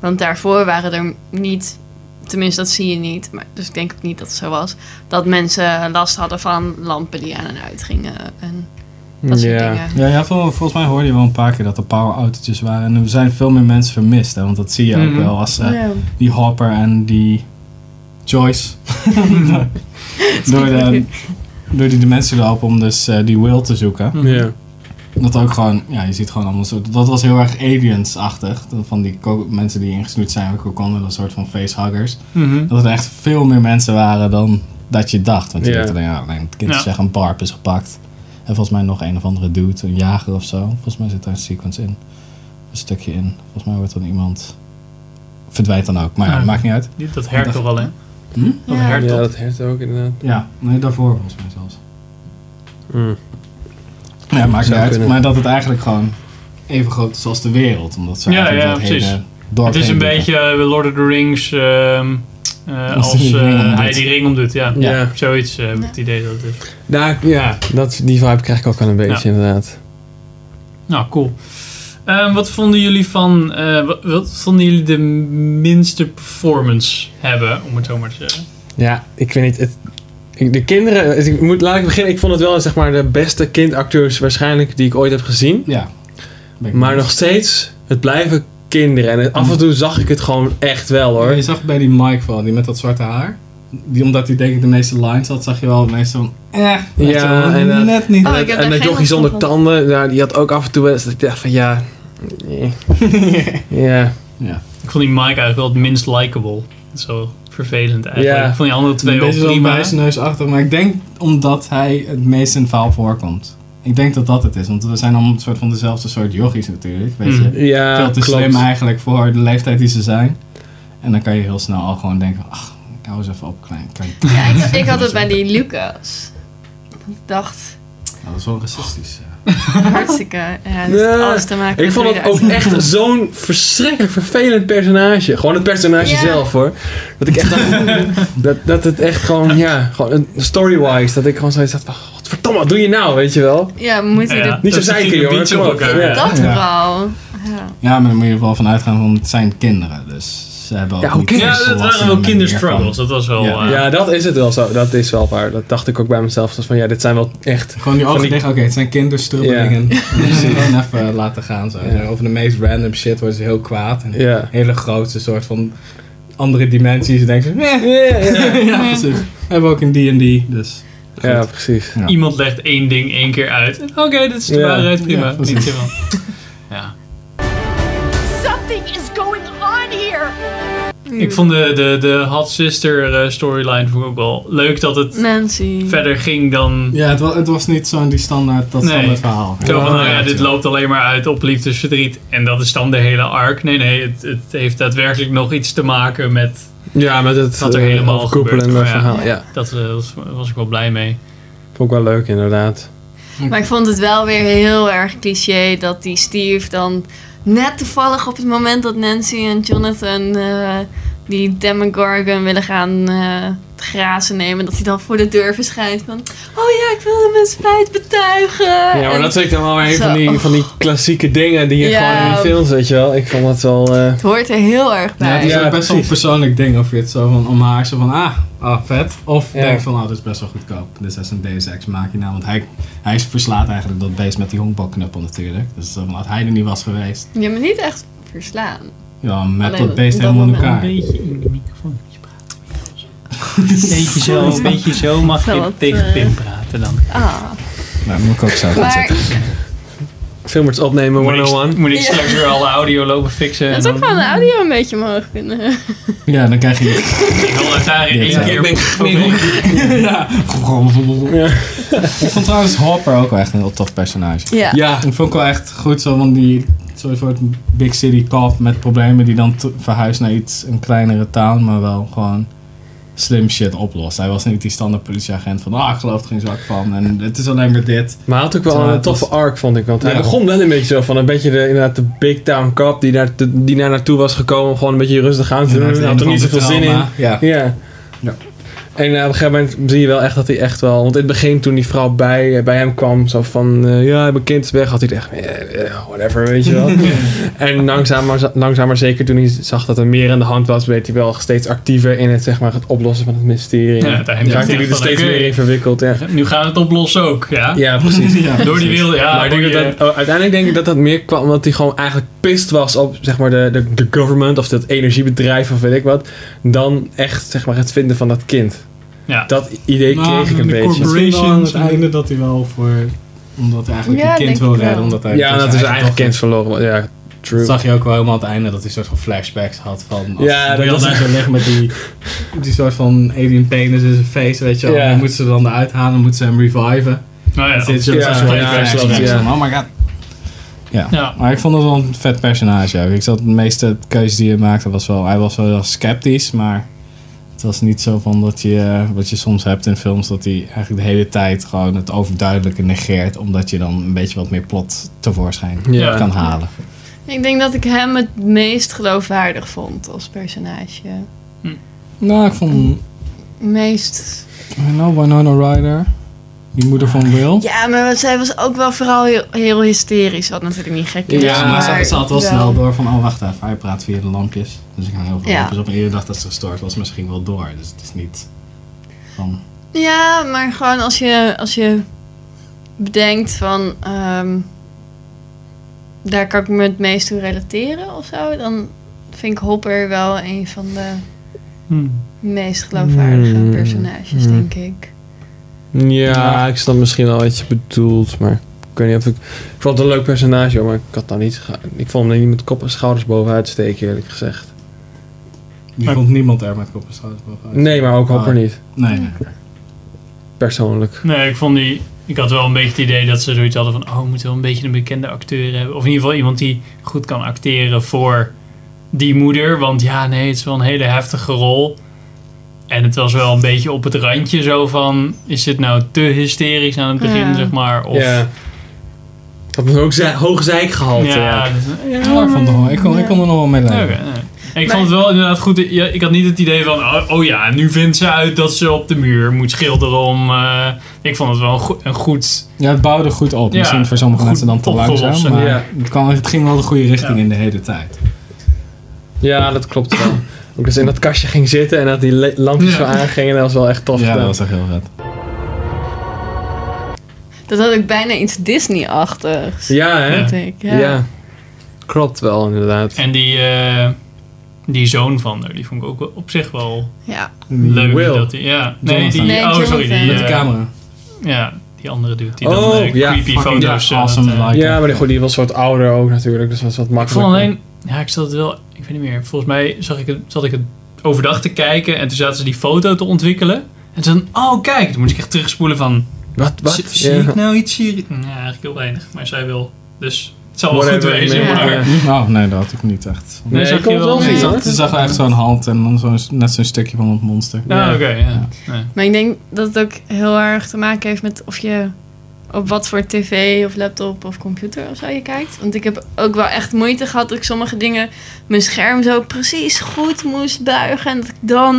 Speaker 4: Want daarvoor waren er niet, tenminste dat zie je niet, maar, dus ik denk ook niet dat het zo was, dat mensen last hadden van lampen die aan en uit gingen en dat soort
Speaker 6: Ja.
Speaker 4: dingen.
Speaker 5: Ja, ja vol- volgens mij hoorde je wel een paar keer dat er power-autootjes waren. En er zijn veel meer mensen vermist. Hè, want dat zie je ook
Speaker 1: Mhm.
Speaker 5: wel als eh,
Speaker 4: Ja.
Speaker 5: die Hopper en die Joyce door, de, door die dimensie lopen om dus eh, die Will te zoeken.
Speaker 6: Ja.
Speaker 5: Dat ook gewoon, ja, je ziet gewoon allemaal soort. Dat was heel erg aliens-achtig. Dat Van die ko- mensen die ingesnoerd zijn met kokonnen, dat soort van facehuggers. Dat er echt veel meer mensen waren dan dat je dacht. Want je
Speaker 6: Ja.
Speaker 5: dacht alleen, ja, alleen het kind
Speaker 1: Ja.
Speaker 5: is echt een barb is gepakt. En volgens mij nog een of andere dude, een jager of zo. Volgens mij zit daar een sequence in. Een stukje in. Volgens mij wordt dan iemand. verdwijnt dan ook. Maar ja,
Speaker 1: Ja.
Speaker 5: maakt niet uit.
Speaker 1: Die- dat hert toch wel, hè?
Speaker 5: Hm?
Speaker 1: Dat
Speaker 4: Ja.
Speaker 1: hert
Speaker 6: ja,
Speaker 1: toch?
Speaker 6: dat hert ook inderdaad.
Speaker 5: Ja, nee, daarvoor volgens mij zelfs.
Speaker 6: Mm.
Speaker 5: Ja, maakt niet
Speaker 6: Zou
Speaker 5: uit.
Speaker 6: kunnen.
Speaker 5: Maar dat het eigenlijk gewoon even groot is als de wereld. Omdat ze
Speaker 1: Ja,
Speaker 5: eigenlijk
Speaker 1: ja,
Speaker 5: dat
Speaker 1: precies.
Speaker 5: hele dorp
Speaker 1: Het is een
Speaker 5: heen lopen.
Speaker 1: beetje eh, Lord of the Rings ehm, eh,
Speaker 5: Als
Speaker 1: als
Speaker 5: die ring
Speaker 1: eh,
Speaker 5: omdoet.
Speaker 1: hij die ring omdoet. Ja,
Speaker 6: Ja.
Speaker 1: zoiets eh, heb ik het idee dat het is.
Speaker 6: Nou, ja, dat, die vibe krijg ik ook al een beetje inderdaad.
Speaker 1: Nou, cool. Ehm, wat vonden jullie van... eh, wat, wat vonden jullie de minste performance hebben, om het zo maar te zeggen?
Speaker 6: Ja, ik weet niet. Het, ik- de kinderen, het- ik moet, laat ik beginnen. Ik vond het wel zeg maar de beste kindacteurs waarschijnlijk die ik ooit heb gezien.
Speaker 5: Ja. Ben ik
Speaker 6: Maar
Speaker 5: mee.
Speaker 6: nog steeds, het blijven kinderen. En het- af en toe zag ik het gewoon echt wel hoor.
Speaker 5: Je zag bij die Mike wel, die met dat zwarte haar. Die, omdat hij denk ik de meeste lines had, zag je wel de meeste van... Eh, weet
Speaker 6: Ja,
Speaker 5: je wel,
Speaker 6: en dat-
Speaker 5: net
Speaker 1: Ah,
Speaker 5: niet.
Speaker 4: Oh, ik heb daar
Speaker 6: en dat
Speaker 4: geen
Speaker 6: jochie
Speaker 4: last van
Speaker 6: zonder
Speaker 4: gehad.
Speaker 6: tanden, nou, die had ook af en toe wel eens dat ik dacht van ja... nee. Ja,
Speaker 1: Ik vond die Mike eigenlijk wel het minst likable. Zo vervelend eigenlijk.
Speaker 6: Ja.
Speaker 1: Ik vond die andere twee
Speaker 5: Deze
Speaker 1: wel
Speaker 5: is wel
Speaker 1: prima.
Speaker 5: neusachtig, maar ik denk omdat hij het meest in het verhaal voorkomt. Ik denk dat dat het is, want we zijn allemaal een soort van dezelfde soort yogis natuurlijk. Weet je,
Speaker 1: Mm.
Speaker 6: ja
Speaker 5: veel te
Speaker 6: klopt.
Speaker 5: slim eigenlijk voor de leeftijd die ze zijn. En dan kan je heel snel al gewoon denken, van, ach, ik hou eens even op, klein, klein.
Speaker 4: Ja, ik, ik had het bij die Lucas. Ik dacht,
Speaker 5: Nou, dat is wel racistisch. ja.
Speaker 4: hartstikke, ja, het heeft
Speaker 6: Nee,
Speaker 4: alles te maken
Speaker 6: Ik
Speaker 4: met
Speaker 6: vond
Speaker 4: hoe
Speaker 6: het
Speaker 4: je
Speaker 6: ook
Speaker 4: eruit
Speaker 6: echt zo'n verschrikkelijk vervelend personage. Gewoon het personage
Speaker 4: Ja.
Speaker 6: zelf hoor. Dat ik echt dacht, dat, dat het echt gewoon, ja, gewoon een- story-wise, dat ik gewoon zoiets had van, godverdomme, wat doe je nou, weet je wel?
Speaker 4: ziet. Ja, moet je
Speaker 1: Ja,
Speaker 4: er...
Speaker 6: Niet zo
Speaker 1: dat ze
Speaker 6: zeiken,
Speaker 1: gingen
Speaker 6: jongen.
Speaker 1: beatsen
Speaker 6: Kom
Speaker 1: op
Speaker 6: op.
Speaker 1: elkaar.
Speaker 6: Ja.
Speaker 4: Dat
Speaker 5: Ja.
Speaker 4: vooral. Ja.
Speaker 5: Ja, maar dan moet je er wel van uitgaan van het zijn kinderen, dus ze hebben ook
Speaker 6: Ja, hoe
Speaker 5: niet
Speaker 6: kinderen-
Speaker 1: Ja,
Speaker 5: volwassenen
Speaker 1: dat waren wel
Speaker 5: manier
Speaker 1: kinderstruggles.
Speaker 5: van-
Speaker 1: Dat was wel...
Speaker 5: Ja.
Speaker 1: eh,
Speaker 6: Ja, dat is het wel zo. Dat is wel waar. Dat dacht ik ook bij mezelf. zoals van, ja, dit zijn wel echt...
Speaker 5: Gewoon die ogen
Speaker 6: die-
Speaker 5: dicht, oké, het zijn kinderstrubbelingen. Dus ze gewoon even laten gaan. Zo.
Speaker 6: Ja.
Speaker 5: Over de meest random shit worden ze heel kwaad. En
Speaker 6: Ja.
Speaker 5: Hele grote soort van andere dimensies. En denken ze, meh. Ja, precies. We hebben ook een D&D, dus...
Speaker 6: Ja, precies.
Speaker 5: Ja.
Speaker 1: Iemand legt één ding één keer uit. En Oké, dit is de
Speaker 6: Ja.
Speaker 1: waarheid, prima.
Speaker 5: Ja, precies.
Speaker 1: Niet zo van. Ja.
Speaker 3: Something is going on here.
Speaker 1: Ik vond de, de, de Hot Sister eh, storyline vond ik ook wel leuk dat het
Speaker 4: Nancy.
Speaker 1: verder ging dan...
Speaker 5: Ja, het was, het was niet zo'n die standaard, dat
Speaker 1: Nee.
Speaker 5: standaard verhaal.
Speaker 1: Zo van, nou ja, dit
Speaker 5: Ja.
Speaker 1: loopt alleen maar uit op liefdesverdriet en dat is dan de hele arc. Nee, nee, het, het heeft daadwerkelijk nog iets te maken met...
Speaker 6: Ja, met het
Speaker 1: Wat er
Speaker 6: eh,
Speaker 1: helemaal
Speaker 6: overkoepelende
Speaker 1: gebeurt. Oh, ja.
Speaker 6: verhaal. Ja,
Speaker 1: Dat eh, was, was ik wel blij mee.
Speaker 6: vond ik wel leuk inderdaad.
Speaker 4: Maar ik vond het wel weer heel erg cliché dat die Steve dan net toevallig op het moment dat Nancy en Jonathan eh, die Demogorgon willen gaan eh, grazen nemen, dat hij dan voor de deur verschijnt van oh ja, ik wilde mijn spijt betuigen.
Speaker 6: Ja, maar
Speaker 4: En-
Speaker 6: dat vind ik dan wel weer een
Speaker 4: Zo.
Speaker 6: van die, van die klassieke dingen die je
Speaker 4: Ja.
Speaker 6: gewoon in die films, weet je wel. Ik vond dat wel... eh,
Speaker 4: het hoort er heel erg
Speaker 5: Ja,
Speaker 4: bij.
Speaker 5: het is
Speaker 6: Ja,
Speaker 5: ook best wel een
Speaker 6: precies.
Speaker 5: persoonlijk ding of je het zo van omhaakt, zo van ah, ah vet. Of
Speaker 6: Ja.
Speaker 5: denk van nou, dit is best wel goedkoop. Dit is een Deus Ex Machina, want hij, hij verslaat eigenlijk dat beest met die honkbalknuppel natuurlijk. Dus zo van, als hij er niet was geweest,
Speaker 4: Je moet niet echt verslaan.
Speaker 5: ja, met
Speaker 4: Alleen
Speaker 5: dat
Speaker 4: dat
Speaker 5: beest helemaal in
Speaker 4: moment.
Speaker 1: Een
Speaker 5: elkaar.
Speaker 1: beetje in de microfoon moet je praten. Een beetje zo, een beetje zo mag
Speaker 4: Zal
Speaker 1: je
Speaker 4: het,
Speaker 1: tegen
Speaker 4: eh,
Speaker 1: Pim praten dan.
Speaker 4: Ah,
Speaker 5: Nou, moet ik ook zo gaan
Speaker 4: maar
Speaker 5: zitten.
Speaker 6: Filmers opnemen
Speaker 1: Moet ik,
Speaker 6: 101.
Speaker 1: moet ik straks weer alle audio lopen fixen?
Speaker 4: dat is ook gewoon de audio een beetje omhoog kunnen.
Speaker 5: Ja, dan krijg je...
Speaker 1: Ik wil het daar in één
Speaker 5: Ja,
Speaker 1: keer...
Speaker 5: ik
Speaker 1: Oké.
Speaker 5: ja. Ik vond trouwens Hopper ook wel echt een heel tof personage.
Speaker 4: Ja.
Speaker 6: Ja,
Speaker 5: Ik vond ik wel echt goed zo, want die soort soort big city cop met problemen die dan te- verhuist naar iets, een kleinere town, maar wel gewoon slim shit oplost. Hij was niet die standaard politieagent van, ah, ik geloof er geen zak van en het is alleen maar dit.
Speaker 6: maar hij had ook wel
Speaker 5: Ja,
Speaker 6: een
Speaker 5: het
Speaker 6: toffe
Speaker 5: was-
Speaker 6: arc, vond ik. Want hij
Speaker 5: Ja.
Speaker 6: begon wel een beetje zo van een beetje de, inderdaad de big town cop die daar, te- die daar naartoe was gekomen om gewoon een beetje rustig aan te
Speaker 5: En
Speaker 6: doen.
Speaker 5: hij
Speaker 6: Hij had
Speaker 5: een
Speaker 6: er niet
Speaker 5: of
Speaker 6: zoveel
Speaker 5: ander
Speaker 6: zin in.
Speaker 5: trauma. Ja.
Speaker 6: Ja.
Speaker 5: Ja.
Speaker 6: En eh, op een gegeven moment zie je wel echt dat hij echt wel... Want in het begin toen die vrouw bij, eh, bij hem kwam, zo van... eh, ja, mijn kind is weg, had hij het echt... eh, eh, whatever, weet je wel. en langzaam maar, langzaam maar zeker toen hij zag dat er meer aan de hand was... werd hij wel steeds actiever in het, zeg maar, het oplossen van het mysterie.
Speaker 1: Ja, daar heb je
Speaker 6: raakte hij
Speaker 1: echt van,
Speaker 6: er steeds
Speaker 1: oké.
Speaker 6: meer in verwikkeld. Ja,
Speaker 1: Nu gaan we het oplossen ook, ja?
Speaker 6: ja precies.
Speaker 1: Door die wereld, ja.
Speaker 6: maar ik denk
Speaker 1: word je-
Speaker 6: dat dat- oh, uiteindelijk denk ik dat dat meer kwam omdat hij gewoon eigenlijk pist was op zeg maar, de, de, de government of dat energiebedrijf of weet ik wat. Dan echt zeg maar, het vinden van dat kind.
Speaker 1: Ja.
Speaker 6: Dat idee kreeg ik een beetje.
Speaker 5: Misschien wel aan het
Speaker 1: Corporations.
Speaker 5: einde dat hij wel voor, omdat hij eigenlijk
Speaker 4: Ja,
Speaker 5: een kind
Speaker 4: denk
Speaker 5: wil
Speaker 4: ik wel.
Speaker 5: redden. Omdat hij dus
Speaker 6: Ja, dat is eigenlijk
Speaker 5: toch-
Speaker 6: kind verloren. was. Ja, true.
Speaker 5: Dat zag je ook wel helemaal aan het einde dat hij soort van flashbacks had van als
Speaker 6: Ja,
Speaker 5: ja,
Speaker 6: dat
Speaker 5: dat
Speaker 6: was-
Speaker 5: daar zo ligt met die, die soort van alien penis in zijn face, weet je wel.
Speaker 6: Ja.
Speaker 5: En dan moeten ze dan eruit halen, dan moeten ze hem reviven.
Speaker 1: Nou ja,
Speaker 5: Dan zit je
Speaker 6: Ja,
Speaker 5: op zo'n soort
Speaker 1: ja,
Speaker 5: flashback
Speaker 6: ja.
Speaker 5: van, oh my god. Ja.
Speaker 1: Ja.
Speaker 5: maar ik vond het wel een vet personage ook. Ik zat de meeste keuzes die hij maakte, was wel, hij was wel heel sceptisch, maar het was niet zo van dat je, eh, wat je soms hebt in films, dat hij eigenlijk de hele tijd gewoon het overduidelijke negeert, omdat je dan een beetje wat meer plot tevoorschijn
Speaker 6: Ja.
Speaker 5: kan halen.
Speaker 4: Ik denk dat ik hem het meest geloofwaardig vond als personage.
Speaker 5: Nou, ik vond hem
Speaker 4: Meest.
Speaker 5: Nou, Winona Ryder. Die moeder van Will.
Speaker 4: Ja, maar zij was ook wel vooral heel, heel hysterisch, wat natuurlijk niet gek is.
Speaker 5: Ja, maar ze, ze had wel
Speaker 4: wel.
Speaker 5: snel door van, oh wacht even, hij praat via de lampjes. Dus ik hang heel veel
Speaker 4: Ja.
Speaker 5: lampjes op. En je dacht dat ze gestoord was, misschien wel door. Dus het is niet van...
Speaker 4: Ja, maar gewoon als je, als je bedenkt van. ehm, daar kan ik me het meest toe relateren of zo. Dan vind ik Hopper wel een van de
Speaker 1: Hmm.
Speaker 4: meest geloofwaardige
Speaker 6: Hmm.
Speaker 4: personages,
Speaker 6: Hmm.
Speaker 4: denk ik.
Speaker 6: Ja, ik snap misschien wel wat je bedoelt, maar ik weet niet of ik... Ik vond het een leuk personage, hoor, maar ik had daar niet... ge- Ik vond hem niet met kop en schouders bovenuit steken, eerlijk gezegd.
Speaker 5: Die
Speaker 1: Maar-
Speaker 5: vond niemand er met kop en schouders bovenuit.
Speaker 6: Nee, maar ook Hopper
Speaker 5: Ah.
Speaker 6: niet,
Speaker 5: Nee, nee.
Speaker 6: persoonlijk.
Speaker 1: Nee, ik vond die... Ik had wel een beetje het idee dat ze zoiets hadden van... Oh, we moeten wel een beetje een bekende acteur hebben. Of in ieder geval iemand die goed kan acteren voor die moeder. Want ja, nee, het is wel een hele heftige rol. En het was wel een beetje op het randje zo van... Is dit nou te hysterisch aan het begin,
Speaker 4: Ja.
Speaker 1: zeg maar? Of,
Speaker 6: Ja. Dat was ook zei- hoog zeikgehalte.
Speaker 1: Ja,
Speaker 6: Ja.
Speaker 1: dat is-
Speaker 5: ik, vond het wel- ik, kon, ik kon er nog wel mee leven.
Speaker 1: Oké, nee. En ik vond het wel inderdaad goed. ja, ik had niet het idee van, oh, oh ja, nu vindt ze uit dat ze op de muur moet schilderen om. eh, ik vond het wel een, goe- een goed.
Speaker 5: Ja, het bouwde goed op.
Speaker 1: Ja,
Speaker 5: Misschien voor sommige
Speaker 1: goed
Speaker 5: mensen dan te
Speaker 1: opgelost,
Speaker 5: langzaam. Maar
Speaker 6: ja.
Speaker 5: het, kwam, het ging wel de goede richting
Speaker 1: Ja.
Speaker 5: in de hele tijd.
Speaker 6: ja, dat klopt wel. Ook dat ze in dat kastje ging zitten en dat die le- lampjes
Speaker 1: Ja.
Speaker 6: zo aangingen, dat was wel echt tof.
Speaker 5: Ja, dat
Speaker 6: gedaan.
Speaker 5: was echt heel vet.
Speaker 4: Dat had ik bijna iets Disney-achtigs.
Speaker 6: ja hè?
Speaker 4: vond
Speaker 6: Ja.
Speaker 4: ik. Ja.
Speaker 6: Klopt wel, inderdaad.
Speaker 1: En die, eh, die zoon van haar, die vond ik ook wel- op zich wel
Speaker 4: Ja.
Speaker 1: leuk.
Speaker 6: Will.
Speaker 1: Dat die, ja. Nee, die,
Speaker 5: Jonathan.
Speaker 4: Nee,
Speaker 1: oh, sorry. Die,
Speaker 4: Jonathan.
Speaker 5: Met de
Speaker 1: eh,
Speaker 5: camera.
Speaker 1: Ja, die andere dude. Die dan
Speaker 6: Oh,
Speaker 1: eh,
Speaker 6: ja,
Speaker 1: creepy
Speaker 5: fucking
Speaker 1: foto's.
Speaker 5: ja,
Speaker 1: eh,
Speaker 5: awesome
Speaker 1: dat, eh,
Speaker 5: like.
Speaker 6: Ja, maar die, goed, die was wat ouder ook natuurlijk, dus dat was wat
Speaker 1: Ik vond
Speaker 6: makkelijker.
Speaker 1: alleen, ja, ik zat het wel, ik weet niet meer. Volgens mij zag ik het, zat ik het overdag te kijken en toen zaten ze die foto te ontwikkelen. En toen, oh kijk, toen moest ik echt terugspoelen van,
Speaker 6: Wat? Wat?
Speaker 1: zie, zie
Speaker 6: Ja.
Speaker 1: ik nou iets hier? Nou, eigenlijk heel weinig, maar zij wil. Dus het zal wel
Speaker 6: Whatever,
Speaker 1: goed wezen,
Speaker 6: nee,
Speaker 1: maar... Ah,
Speaker 6: ja.
Speaker 5: Oh, nee, dat had ik niet echt.
Speaker 1: Nee,
Speaker 6: Nee,
Speaker 1: zag
Speaker 6: ik kon
Speaker 1: je
Speaker 6: het
Speaker 1: wel
Speaker 6: wel
Speaker 4: niet,
Speaker 6: zien
Speaker 4: hoor.
Speaker 6: hoor.
Speaker 5: Het zag echt zo'n hand en dan zo'n, net zo'n stukje van het monster.
Speaker 1: Nou,
Speaker 6: Ja.
Speaker 1: oké, ja.
Speaker 4: Maar ik denk dat het ook heel erg te maken heeft met of je op wat voor tv of laptop of computer of zo je kijkt. Want ik heb ook wel echt moeite gehad dat ik sommige dingen mijn scherm zo precies goed moest buigen. En dat ik dan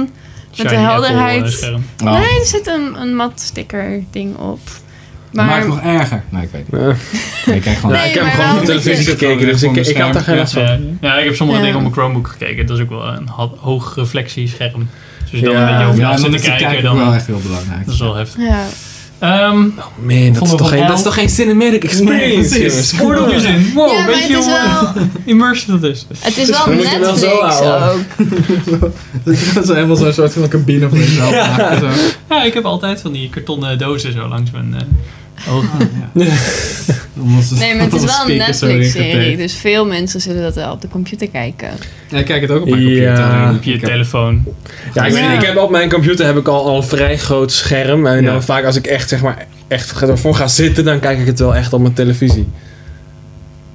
Speaker 4: met de
Speaker 1: Shiny
Speaker 4: helderheid.
Speaker 1: Apple, eh, scherm.
Speaker 5: Nou,
Speaker 4: Nee, er zit een, een mat sticker ding op.
Speaker 5: dat maakt
Speaker 4: Maar
Speaker 5: het nog erger. Nee, ik weet niet.
Speaker 6: Ja.
Speaker 5: Nee, ik kijk gewoon...
Speaker 4: Nee,
Speaker 6: ik heb
Speaker 4: maar
Speaker 6: gewoon
Speaker 4: wel
Speaker 6: op
Speaker 4: een
Speaker 6: televisie
Speaker 5: beetje-
Speaker 6: gekeken, dus ik, ik had daar geen last van.
Speaker 1: Ja, ja, ik heb sommige
Speaker 4: Ja.
Speaker 1: dingen op mijn Chromebook gekeken. Dat is ook wel een ha- hoog reflectiescherm. Dus als je dan
Speaker 6: Ja.
Speaker 1: een beetje over
Speaker 5: ja, en
Speaker 1: zit
Speaker 5: dan
Speaker 1: te
Speaker 5: is het
Speaker 1: kijken,
Speaker 5: kijken
Speaker 1: dan
Speaker 5: wel echt heel belangrijk.
Speaker 1: dat is wel heftig.
Speaker 4: ja,
Speaker 1: Ehm
Speaker 6: Man, dat is,
Speaker 1: Vonden we
Speaker 6: toch geen,
Speaker 1: wel-
Speaker 6: dat is toch geen cinematic experience,
Speaker 5: precies.
Speaker 6: jongens. Kom
Speaker 1: Word
Speaker 6: op.
Speaker 1: op je zin. Wow,
Speaker 4: ja maar
Speaker 1: Oh, weet
Speaker 4: het
Speaker 1: je
Speaker 4: is
Speaker 1: hoe eh,
Speaker 4: wel,
Speaker 1: immersive dat is?
Speaker 4: het is wel
Speaker 6: Dan moet je wel
Speaker 4: Netflix
Speaker 6: zo houden.
Speaker 4: ook.
Speaker 5: Dat is helemaal zo'n soort van cabine voor jezelf maken. Zo.
Speaker 1: Ja, ik heb altijd van die kartonnen dozen zo langs mijn eh, ogen.
Speaker 5: Omdat ze-
Speaker 4: Nee, maar het is
Speaker 5: omdat
Speaker 4: wel een
Speaker 5: speakers zo
Speaker 4: Netflix-serie,
Speaker 5: ingetaped.
Speaker 4: dus veel mensen zullen dat wel op de computer kijken.
Speaker 5: Ja, ik kijk het ook op mijn computer.
Speaker 6: Ja.
Speaker 1: Op je telefoon.
Speaker 6: Ja, ik,
Speaker 4: Ja.
Speaker 6: weet- ik heb op mijn computer heb ik al, al een vrij groot scherm. En
Speaker 5: Ja.
Speaker 6: dan vaak als ik echt, zeg maar, echt ervoor ga zitten, dan kijk ik het wel echt op mijn televisie.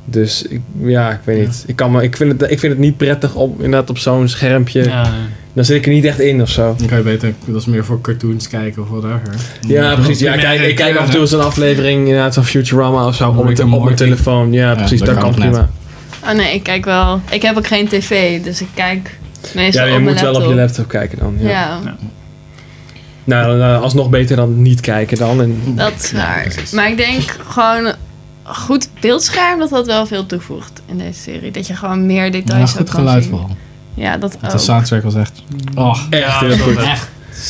Speaker 6: Dus ik, ja, ik weet niet. Ik, kan me, ik, vind het, ik vind het niet prettig om inderdaad op zo'n schermpje.
Speaker 1: Ja.
Speaker 6: Dan zit ik er niet echt in of zo.
Speaker 5: Dan kan je beter, dat is meer voor cartoons kijken of whatever.
Speaker 6: Ja, precies. Ja, ik
Speaker 5: merk
Speaker 6: kijk,
Speaker 5: ik,
Speaker 6: ik kijk
Speaker 5: ja.
Speaker 6: af en toe eens een aflevering inderdaad van Futurama of zo op,
Speaker 5: Rick
Speaker 6: mijn te-
Speaker 5: and
Speaker 6: op mijn
Speaker 5: Morty.
Speaker 6: telefoon. Ja, precies.
Speaker 5: dat
Speaker 6: Dat
Speaker 5: kan
Speaker 6: kan
Speaker 5: ook net.
Speaker 6: prima.
Speaker 4: Oh nee, ik kijk wel. Ik heb ook geen tv, dus ik kijk meestal
Speaker 6: Ja, je
Speaker 4: op
Speaker 6: moet
Speaker 4: mijn laptop.
Speaker 6: wel op je laptop kijken dan. Ja.
Speaker 4: Ja,
Speaker 6: Nou, nou, alsnog beter dan niet kijken dan. En,
Speaker 4: dat is waar. Maar ik denk gewoon een goed beeldscherm dat dat wel veel toevoegt in deze serie. Dat je gewoon meer
Speaker 5: Ja,
Speaker 4: details ook
Speaker 5: goed
Speaker 4: kan
Speaker 5: geluid
Speaker 4: zien.
Speaker 5: vooral.
Speaker 4: Ja, dat
Speaker 6: Oh,
Speaker 5: De
Speaker 4: ook.
Speaker 5: soundtrack was echt... Oh,
Speaker 6: echt heel
Speaker 1: dat was
Speaker 6: goed.
Speaker 1: het.
Speaker 5: echt.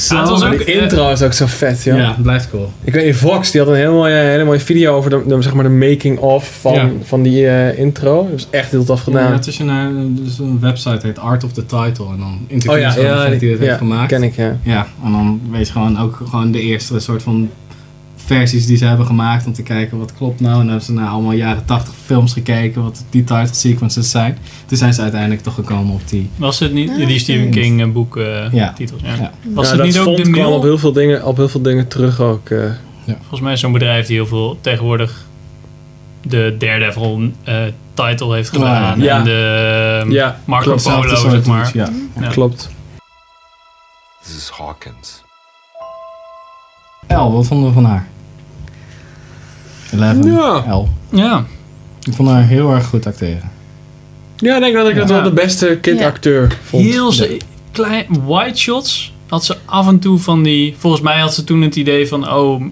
Speaker 1: Ja, het was ook,
Speaker 6: De intro is ook zo vet,
Speaker 5: Ja,
Speaker 6: joh.
Speaker 5: het blijft cool.
Speaker 6: Ik weet niet, Vox die had een hele mooie, hele mooie video over de, de- zeg maar de making-of van,
Speaker 5: Ja.
Speaker 6: van die eh, intro. Dat is echt heel tof gedaan.
Speaker 5: Ja, het is een, eh, dus een website heet Art of the Title en dan interviews
Speaker 6: oh ja,
Speaker 5: van
Speaker 6: ja,
Speaker 5: degene die dit
Speaker 6: ja,
Speaker 5: heeft gemaakt.
Speaker 6: ken ik, ja.
Speaker 5: Ja, en dan weet je gewoon ook gewoon de eerste soort van versies die ze hebben gemaakt om te kijken wat klopt nou. En dan hebben ze naar allemaal jaren 80 films gekeken, wat die title sequences zijn. Toen zijn ze uiteindelijk toch gekomen op die.
Speaker 1: was het niet die Stephen King eh, boek eh,
Speaker 5: Ja.
Speaker 1: titels? Ja.
Speaker 5: Ja.
Speaker 1: Was
Speaker 6: Ja,
Speaker 1: het
Speaker 6: Nou, dat
Speaker 1: niet ook
Speaker 6: font
Speaker 1: de
Speaker 6: kwam op
Speaker 1: mail?
Speaker 6: heel, veel dingen, op heel veel dingen terug ook. eh.
Speaker 1: Volgens mij is zo'n bedrijf die heel veel tegenwoordig eh, de Daredevil eh title heeft gedaan.
Speaker 6: Ja.
Speaker 1: En de eh,
Speaker 6: Ja,
Speaker 1: Marco
Speaker 6: klopt.
Speaker 1: Polo,
Speaker 5: Hetzelfde soort
Speaker 1: zeg maar.
Speaker 5: iets, Ja.
Speaker 1: Ja.
Speaker 6: Klopt.
Speaker 2: This is Hawkins.
Speaker 5: El, wat vonden we van haar? Eleven.
Speaker 6: Ja.
Speaker 5: El.
Speaker 1: Ja.
Speaker 5: Ik vond haar heel erg goed acteren.
Speaker 6: Ja, ik denk dat ik dat
Speaker 1: Ja.
Speaker 6: wel de beste kindacteur vond.
Speaker 1: Heel ze- klein wide shots had ze af en toe van die. Volgens mij had ze toen het idee van oh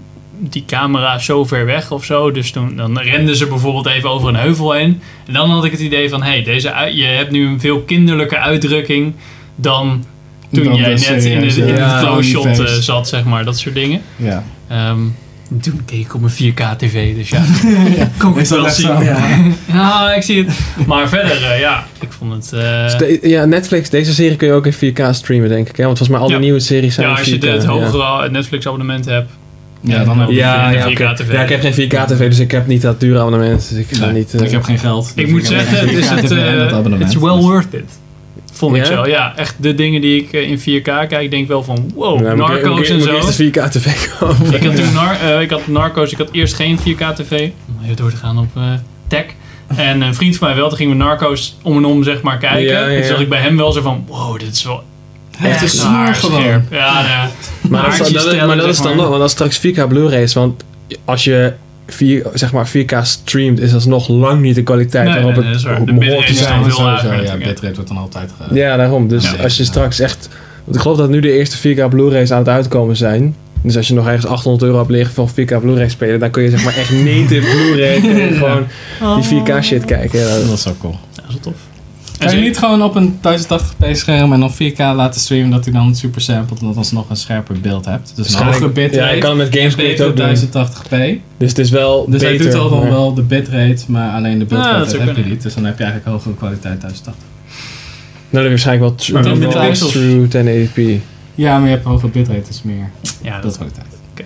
Speaker 1: die camera is zo ver weg of zo. Dus toen dan renden ze bijvoorbeeld even over een heuvel heen. En dan had ik het idee van hey deze ui- je hebt nu een veel kinderlijke uitdrukking dan toen
Speaker 5: Dan
Speaker 1: jij
Speaker 5: de
Speaker 1: net in de,
Speaker 5: serieuze-
Speaker 1: in de
Speaker 6: Ja,
Speaker 1: flow shot eh,
Speaker 5: universe.
Speaker 1: zat zeg maar dat soort dingen.
Speaker 5: Ja.
Speaker 1: Ehm, en toen keek ik op mijn 4K tv, dus ja, kon ik het
Speaker 5: Is dat
Speaker 1: wel
Speaker 5: echt
Speaker 1: zien.
Speaker 5: zo? Ja.
Speaker 1: Ja, ik zie het. Maar verder, eh, ja, ik vond het... eh,
Speaker 6: Dus de- ja, Netflix, deze serie kun je ook in 4K streamen, denk ik. Hè? Want volgens mij al die
Speaker 1: Ja.
Speaker 6: nieuwe series zijn
Speaker 1: ja,
Speaker 6: in
Speaker 1: als je
Speaker 6: 4K,
Speaker 1: de- het
Speaker 6: ja.
Speaker 1: hogere Netflix abonnement hebt.
Speaker 5: Ja, dan heb ik.
Speaker 6: Ja,
Speaker 1: de
Speaker 6: ja,
Speaker 1: 4K
Speaker 6: oké.
Speaker 1: TV.
Speaker 6: ja, ik heb geen 4K TV, dus ik heb niet dat dure abonnement. Dus ik ga
Speaker 5: Nee,
Speaker 6: niet... eh,
Speaker 5: ik heb geen geld. dus
Speaker 1: Ik moet
Speaker 5: heb
Speaker 1: zeggen,
Speaker 5: geen
Speaker 1: het is
Speaker 5: 4K
Speaker 1: het,
Speaker 5: TV en dat
Speaker 1: eh,
Speaker 5: abonnement.
Speaker 1: it's well
Speaker 5: Dus-
Speaker 1: worth it. Vond ik
Speaker 6: Ja?
Speaker 1: zo, ja. Echt de dingen die ik eh, in 4K kijk, denk ik wel van wow,
Speaker 6: Ja, Nou, moet ik- moet
Speaker 1: Oh, Narcos
Speaker 6: ik-
Speaker 1: en
Speaker 6: moet
Speaker 1: zo.
Speaker 6: ik eerst de 4K TV kopen.
Speaker 1: Ik had toen nar- eh, ik had Narcos, ik had eerst geen 4K tv. Om even door te gaan op eh, tech. En een vriend van mij wel, toen gingen we Narcos om en om zeg maar kijken.
Speaker 6: Ja, ja,
Speaker 1: En toen zag
Speaker 6: ja.
Speaker 1: ik bij hem wel zo van, wow, dit is wel
Speaker 5: Het is
Speaker 1: echt
Speaker 5: snor gewoon.
Speaker 1: haarscherp. Ja, ja.
Speaker 6: Maar dat, is-
Speaker 1: Nou, Haartjes
Speaker 6: dat is- maar
Speaker 1: tellen,
Speaker 6: dat
Speaker 1: zeg
Speaker 6: is dan
Speaker 1: maar.
Speaker 6: nog, want dat is straks 4K Blu-ray is. Want als je 4, zeg maar 4K streamt, is dat nog lang niet de kwaliteit
Speaker 1: Nee,
Speaker 6: waarop
Speaker 1: nee, nee,
Speaker 6: het
Speaker 1: dat is waar. De
Speaker 6: behoort
Speaker 1: bitrate
Speaker 6: te
Speaker 1: is
Speaker 6: zijn.
Speaker 1: dan
Speaker 5: Ja,
Speaker 1: veel lager
Speaker 5: sowieso. Ja,
Speaker 1: natuurlijk, ja.
Speaker 5: bitrate wordt dan altijd ge-
Speaker 6: Ja, daarom. Dus
Speaker 5: Ja.
Speaker 6: als je straks echt... Want ik geloof dat nu de eerste 4K Blu-rays aan het uitkomen zijn. Dus als je nog ergens 800 euro hebt liggen van 4K Blu-ray spelen, dan kun je zeg maar echt native Blu-ray kun je gewoon die 4K shit kijken. Ja,
Speaker 5: Dat is zo cool.
Speaker 1: Ja, dat is wel tof.
Speaker 5: Kan je niet gewoon op een 1080p scherm en dan 4K laten streamen dat hij dan super sampled en dat alsnog een scherper beeld hebt? Dus een hogere
Speaker 6: Waarschijnlijk-
Speaker 5: bitrate.
Speaker 6: ja, je kan het met Gamescript
Speaker 5: betere
Speaker 6: ook doen.
Speaker 5: 1080p.
Speaker 6: Dus het is wel
Speaker 5: Dus
Speaker 6: beter.
Speaker 5: hij doet al dan
Speaker 6: maar-
Speaker 5: wel de bitrate, maar alleen
Speaker 1: Ja,
Speaker 5: de
Speaker 1: dat
Speaker 5: beeldkwaliteit
Speaker 1: zou
Speaker 5: heb je
Speaker 1: kunnen.
Speaker 5: niet. Dus dan heb je eigenlijk hogere kwaliteit 1080.
Speaker 6: Nou, dan waarschijnlijk wel, tr-
Speaker 1: Maar
Speaker 5: met
Speaker 6: wel
Speaker 5: de
Speaker 1: pixels.
Speaker 6: true 1080p.
Speaker 5: Ja, maar je hebt hogere bitrate, dus meer
Speaker 1: Ja, dat
Speaker 5: beeldkwaliteit.
Speaker 1: Oké.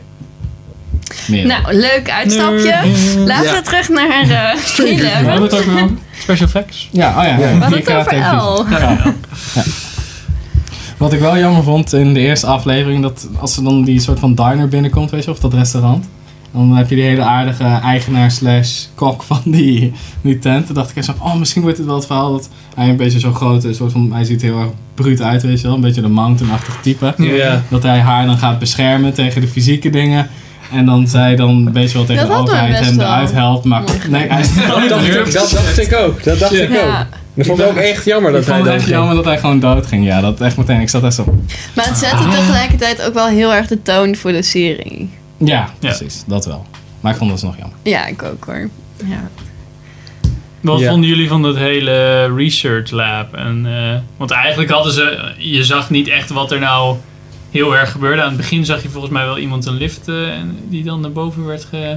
Speaker 5: Meer.
Speaker 4: Nou, leuk uitstapje. Laten we terug naar eh
Speaker 5: we
Speaker 4: Eleven.
Speaker 5: hadden het ook wel.
Speaker 1: special effects.
Speaker 5: Ja, oh ja.
Speaker 6: Ja.
Speaker 4: We hadden het
Speaker 5: 4K
Speaker 4: over
Speaker 5: televisie.
Speaker 4: El.
Speaker 5: Wat ik wel jammer vond in de eerste aflevering, dat als ze dan die soort van diner binnenkomt, weet je, of dat restaurant. Dan heb je die hele aardige eigenaar slash kok van die, die tent. Toen dacht ik echt zo, oh, misschien wordt het wel het verhaal dat hij een beetje zo groot is. Soort van, hij ziet er heel erg bruut uit, weet je wel. Een beetje de mountainachtig type.
Speaker 6: Ja.
Speaker 5: Dat hij haar dan gaat beschermen tegen de fysieke dingen. En dan zij dan een beetje wel tegen
Speaker 4: Dat
Speaker 5: de
Speaker 4: hadden we
Speaker 5: overheid
Speaker 4: best
Speaker 5: hem
Speaker 4: wel.
Speaker 5: eruit helpt. Maar nee, hij is
Speaker 6: Dat dacht, ik, dat dacht ik ook. Dat dacht ik ook.
Speaker 4: Ja.
Speaker 6: Dat vond ik ook echt jammer
Speaker 5: Ik
Speaker 6: dat hij
Speaker 5: vond het
Speaker 6: dat
Speaker 5: echt
Speaker 6: ging.
Speaker 5: jammer dat hij gewoon dood ging. Ja, dat echt meteen. Ik zat echt zo.
Speaker 4: Maar het zette tegelijkertijd ook wel heel erg de toon voor de serie.
Speaker 5: Ja, precies. Dat wel. Maar ik vond dat dus nog jammer.
Speaker 4: Ja, ik ook hoor. Ja.
Speaker 1: Wat
Speaker 6: Ja.
Speaker 1: vonden jullie van dat hele research lab? En, eh, want eigenlijk hadden ze, je zag niet echt wat er nou heel erg gebeurde. Aan het begin zag je volgens mij wel iemand een lift eh, en die dan naar boven werd ge...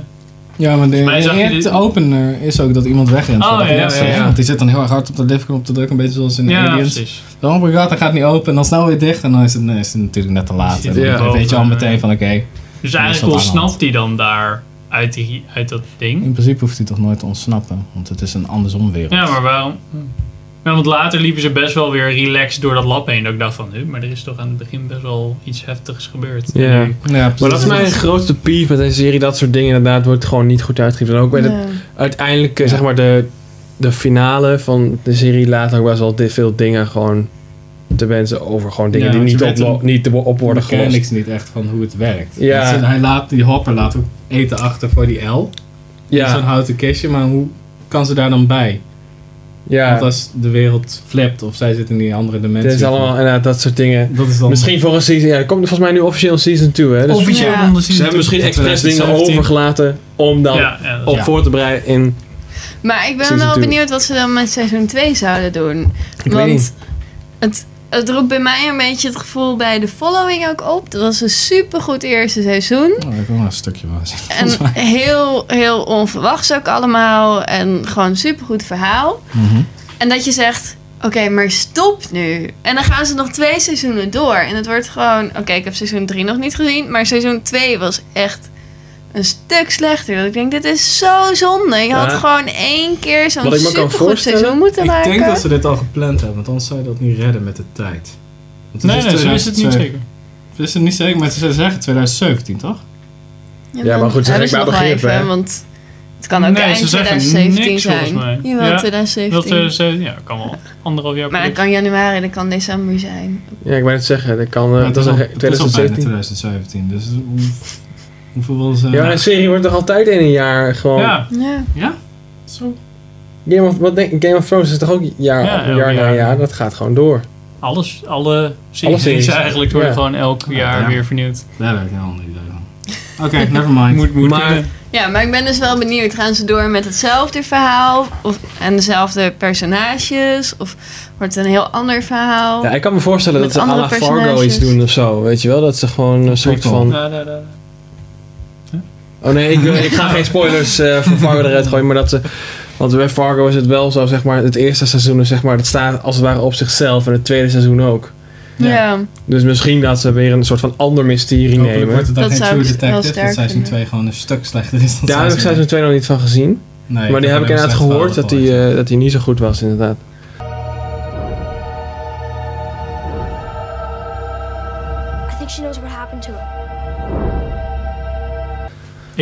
Speaker 5: Ja, maar de,
Speaker 1: mij zag je
Speaker 5: de,
Speaker 1: dit-
Speaker 5: opener is ook dat iemand wegrent.
Speaker 1: Oh,
Speaker 5: voordat
Speaker 1: ja,
Speaker 5: hij
Speaker 1: ja,
Speaker 5: opstaat.
Speaker 1: ja, ja.
Speaker 5: Want die zit dan heel erg hard op de liftknop te drukken. Een beetje zoals in
Speaker 1: Ja,
Speaker 5: Aliens.
Speaker 1: precies.
Speaker 5: Dan oh my god, hij gaat niet open. En dan snel weer dicht. En dan is het, nee, is het natuurlijk net te laat.
Speaker 1: Zit
Speaker 5: En dan
Speaker 6: hij
Speaker 5: weet je al
Speaker 1: boven,
Speaker 5: meteen van oké.
Speaker 1: Dus
Speaker 5: dat
Speaker 1: eigenlijk
Speaker 5: aan de hand.
Speaker 1: ontsnapt hij dan daar uit, die, uit dat ding.
Speaker 5: In principe hoeft hij toch nooit te ontsnappen. Want het is een andersom wereld.
Speaker 1: Ja, maar wel. Ja, want later liepen ze best wel weer relaxed door dat lab heen. Dat ik dacht van, "Huh, maar er is toch aan het begin best wel iets heftigs gebeurd.
Speaker 6: Ja.
Speaker 1: Nu-
Speaker 5: Ja, precies.
Speaker 6: Maar dat is mijn grootste pief met deze serie. Dat soort dingen inderdaad wordt gewoon niet goed uitgegeven. En ook bij de uiteindelijk, eh, zeg maar, de, de finale van de serie laat ook best wel dit veel dingen gewoon te wensen over. Gewoon dingen
Speaker 5: Ja,
Speaker 6: die
Speaker 5: want
Speaker 6: niet
Speaker 5: je
Speaker 6: op,
Speaker 5: weet hem-
Speaker 6: niet te- op worden
Speaker 5: ken
Speaker 6: gelost.
Speaker 5: niks niet echt van hoe het werkt.
Speaker 6: Ja.
Speaker 5: Dus hij laat, die hopper laat ook eten achter voor die L. Zo'n
Speaker 6: Ja,
Speaker 5: houten kistje, maar hoe kan ze daar dan bij? Want
Speaker 6: ja.
Speaker 5: als de wereld flipt of zij zit in die andere
Speaker 6: Het
Speaker 5: dimensie.
Speaker 6: is allemaal inderdaad dat soort dingen.
Speaker 5: Dat is dan
Speaker 6: Misschien voor een season, ja, er komt volgens mij nu officieel season 2, hè. Dus
Speaker 1: Officieel
Speaker 4: Ja.
Speaker 1: onderzien.
Speaker 6: ze hebben misschien expres dingen
Speaker 5: 2017.
Speaker 6: overgelaten om dan
Speaker 1: Ja, ja, dat-
Speaker 6: op
Speaker 5: Ja.
Speaker 6: voor te bereiden in...
Speaker 4: Maar ik ben
Speaker 6: Season
Speaker 4: wel
Speaker 6: two.
Speaker 4: benieuwd wat ze dan met seizoen 2 zouden doen.
Speaker 6: weet
Speaker 4: Want
Speaker 6: niet.
Speaker 4: het, het roept bij mij een beetje het gevoel bij de following ook op. Dat was een supergoed eerste seizoen.
Speaker 5: Oh, ik wil maar een stukje wel zien.
Speaker 4: En heel, heel onverwachts ook allemaal. En gewoon een supergoed verhaal.
Speaker 1: Mhm.
Speaker 4: En dat je zegt, oké, maar stop nu. En dan gaan ze nog twee seizoenen door. En het wordt gewoon, oké, ik heb seizoen 3 nog niet gezien. Maar seizoen 2 was echt een stuk slechter. Dat ik denk, dit is zo zonde. Je had
Speaker 6: Ja.
Speaker 4: gewoon één keer zo'n
Speaker 6: Wat ik me kan
Speaker 4: supergoed
Speaker 6: voorstellen,
Speaker 4: seizoen moeten
Speaker 5: Ik
Speaker 4: maken.
Speaker 5: denk dat ze dit al gepland hebben, want anders zou je dat niet redden met de tijd. Want het
Speaker 1: Nee,
Speaker 6: Dus,
Speaker 1: nee,
Speaker 6: eh,
Speaker 1: ze wisten het niet
Speaker 5: 2007.
Speaker 1: zeker.
Speaker 5: Ze wisten het niet zeker, maar ze zeggen 2017, toch?
Speaker 6: Ja, maar goed, ze
Speaker 4: hebben
Speaker 6: zijn
Speaker 4: nog
Speaker 6: maar
Speaker 4: wel
Speaker 6: begrepen,
Speaker 4: even,
Speaker 6: hè?
Speaker 4: want het kan ook
Speaker 1: Nee, ze
Speaker 4: eind
Speaker 1: zeggen
Speaker 4: 2017
Speaker 1: niks, volgens
Speaker 4: zijn.
Speaker 1: mij.
Speaker 4: Jawel,
Speaker 1: Ja, Dat,
Speaker 4: 2017.
Speaker 1: eh, ze- ja, kan wel anderhalf jaar
Speaker 4: maar dat
Speaker 1: per-
Speaker 4: kan januari, dat kan december zijn.
Speaker 6: Ja, ik wou het zeggen, dat kan... eh,
Speaker 5: Maar
Speaker 6: dat is
Speaker 5: al-
Speaker 6: al
Speaker 5: is al bijna
Speaker 6: 2017.
Speaker 5: 2017, dus hoe, hoeveel wil ze...
Speaker 6: Ja, maar een serie wordt toch altijd in een jaar gewoon...
Speaker 1: Ja,
Speaker 4: Ja.
Speaker 5: Zo.
Speaker 6: Game of, wat denk, Game of Thrones is toch ook jaar,
Speaker 1: Ja, elk
Speaker 6: jaar na
Speaker 1: jaar.
Speaker 6: jaar? Dat gaat gewoon door.
Speaker 1: alles, alle
Speaker 6: Alle
Speaker 1: series
Speaker 6: series.
Speaker 1: eigenlijk worden
Speaker 6: Ja.
Speaker 1: gewoon elk jaar
Speaker 5: ja.
Speaker 1: weer vernieuwd.
Speaker 5: Daar heb ik een ander idee van. Oké, never mind.
Speaker 1: Moet, eh, moet
Speaker 6: Maar-
Speaker 1: kunnen.
Speaker 4: ja, maar ik ben dus wel benieuwd. Gaan ze door met hetzelfde verhaal? Of, en dezelfde personages? Of wordt het een heel ander verhaal?
Speaker 6: Ja, ik kan me voorstellen
Speaker 4: Met
Speaker 6: dat ze à la
Speaker 4: andere
Speaker 6: Fargo
Speaker 4: personages.
Speaker 6: iets doen of zo. Weet je wel? Dat ze gewoon een soort
Speaker 5: Prequel.
Speaker 6: van...
Speaker 1: Ja, daar, daar.
Speaker 6: Oh nee, ik, wil- ik ga geen spoilers eh voor Fargo eruit gooien. Maar dat ze... Want bij Fargo is het wel zo, zeg maar... Het eerste seizoen, is, zeg maar, dat staat als het ware op zichzelf. En het tweede seizoen ook.
Speaker 4: ja.
Speaker 6: Dus misschien dat ze weer een soort van ander mysterie
Speaker 5: Hopelijk
Speaker 6: nemen.
Speaker 5: wordt het dan
Speaker 4: Dat
Speaker 5: geen
Speaker 4: zou
Speaker 5: True
Speaker 4: ik wel
Speaker 5: Detective,
Speaker 4: sterk
Speaker 5: dat seizoen
Speaker 4: vinden.
Speaker 5: 2 gewoon een stuk slechter is dan
Speaker 6: Daar heb ik seizoen 2 nog niet van gezien.
Speaker 5: Nee,
Speaker 6: maar die heb ik
Speaker 5: alleen
Speaker 6: inderdaad
Speaker 5: slecht
Speaker 6: gehoord dat
Speaker 5: verhaal
Speaker 6: die,
Speaker 5: gehoord.
Speaker 6: eh, dat die niet zo goed was, inderdaad.
Speaker 7: I think she knows what happened to him.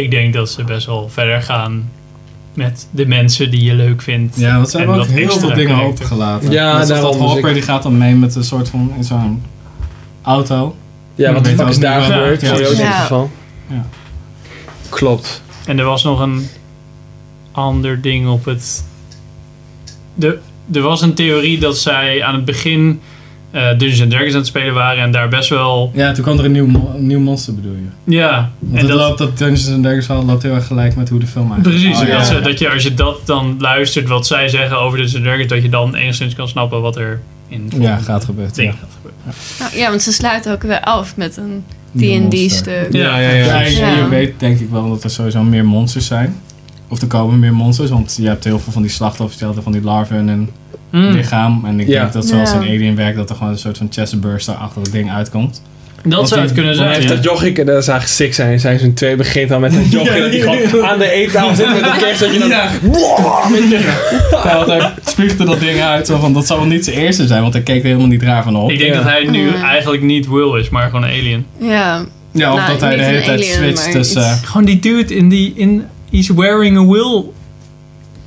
Speaker 1: Ik denk dat ze best wel verder gaan met de mensen die je leuk vindt.
Speaker 5: Ja, want ze
Speaker 1: En
Speaker 5: hebben ook
Speaker 1: dat
Speaker 5: heel
Speaker 1: extra
Speaker 5: veel dingen
Speaker 1: karakter.
Speaker 5: opengelaten.
Speaker 6: eh, Ja,
Speaker 5: Net zoals
Speaker 6: daarom,
Speaker 5: dat
Speaker 6: dus
Speaker 5: Hopper
Speaker 6: ik-
Speaker 5: die gaat dan mee met een soort van in zo'n auto.
Speaker 6: Ja, wat de
Speaker 5: Weet
Speaker 6: fuck
Speaker 5: ook
Speaker 6: is daar
Speaker 5: niet wat-
Speaker 6: gebeurd?
Speaker 5: ja.
Speaker 6: Serieus in
Speaker 4: Ja.
Speaker 6: ieder geval.
Speaker 5: Ja.
Speaker 6: Klopt.
Speaker 1: En er was nog een ander ding op het. De, er was een theorie dat zij aan het begin eh Dungeons and Dragons aan het spelen waren en daar best wel.
Speaker 5: Ja, toen kwam er een nieuw, mo- een nieuw monster bedoel je.
Speaker 1: Ja,
Speaker 5: Want
Speaker 1: en
Speaker 5: dat,
Speaker 1: dat,
Speaker 5: loopt, dat Dungeons and Dragons verhaal loopt heel erg gelijk met hoe de film eigenlijk...
Speaker 1: precies.
Speaker 5: Oh, ja,
Speaker 1: dat, eh, ze-
Speaker 5: ja.
Speaker 1: dat je als je dat dan luistert, wat zij zeggen over Dungeons and Dragons, dat je dan enigszins kan snappen wat er in het
Speaker 5: Ja, gaat gebeuren.
Speaker 1: ding
Speaker 5: Ja.
Speaker 1: gaat gebeuren.
Speaker 4: Nou, ja, want ze sluiten ook weer af met een
Speaker 5: Nieuw monster.
Speaker 4: D&D-stuk.
Speaker 1: Ja, ja,
Speaker 5: Ja, en
Speaker 4: Ja.
Speaker 5: je weet denk ik wel dat er sowieso meer monsters zijn. Of er komen meer monsters, want je hebt heel veel van die slachtoffers, je had er van die larven en
Speaker 1: Mm.
Speaker 5: lichaam. En ik
Speaker 6: Ja.
Speaker 5: denk dat zoals
Speaker 4: Hmm. Ja.
Speaker 5: in Alien werkt, dat er gewoon een soort van chestburster-achtig ding uitkomt.
Speaker 1: Dat zou het kunnen
Speaker 6: Dan
Speaker 1: zijn.
Speaker 6: heeft
Speaker 1: ja.
Speaker 6: dat jochie, dat is eigenlijk sick zijn. Seizoen 2 begint al met dat jochie dat die gewoon aan de eettafel zit met een kerst. Dat je dan...
Speaker 5: Ja, want hij spuugde dat ding uit, zo van, dat zal wel niet zijn eerste zijn, want hij keek er helemaal niet raar van op.
Speaker 1: Ik denk
Speaker 6: Ja.
Speaker 1: dat hij nu
Speaker 4: Ah.
Speaker 1: eigenlijk niet Will is, maar gewoon een alien.
Speaker 4: Ja.
Speaker 5: Ja, of
Speaker 4: Nou,
Speaker 5: dat hij de
Speaker 4: niet
Speaker 5: hele
Speaker 4: een
Speaker 5: tijd
Speaker 4: alien,
Speaker 5: switcht
Speaker 4: maar
Speaker 5: tussen...
Speaker 4: iets-
Speaker 1: Gewoon die dude in die. In, he's wearing a Will.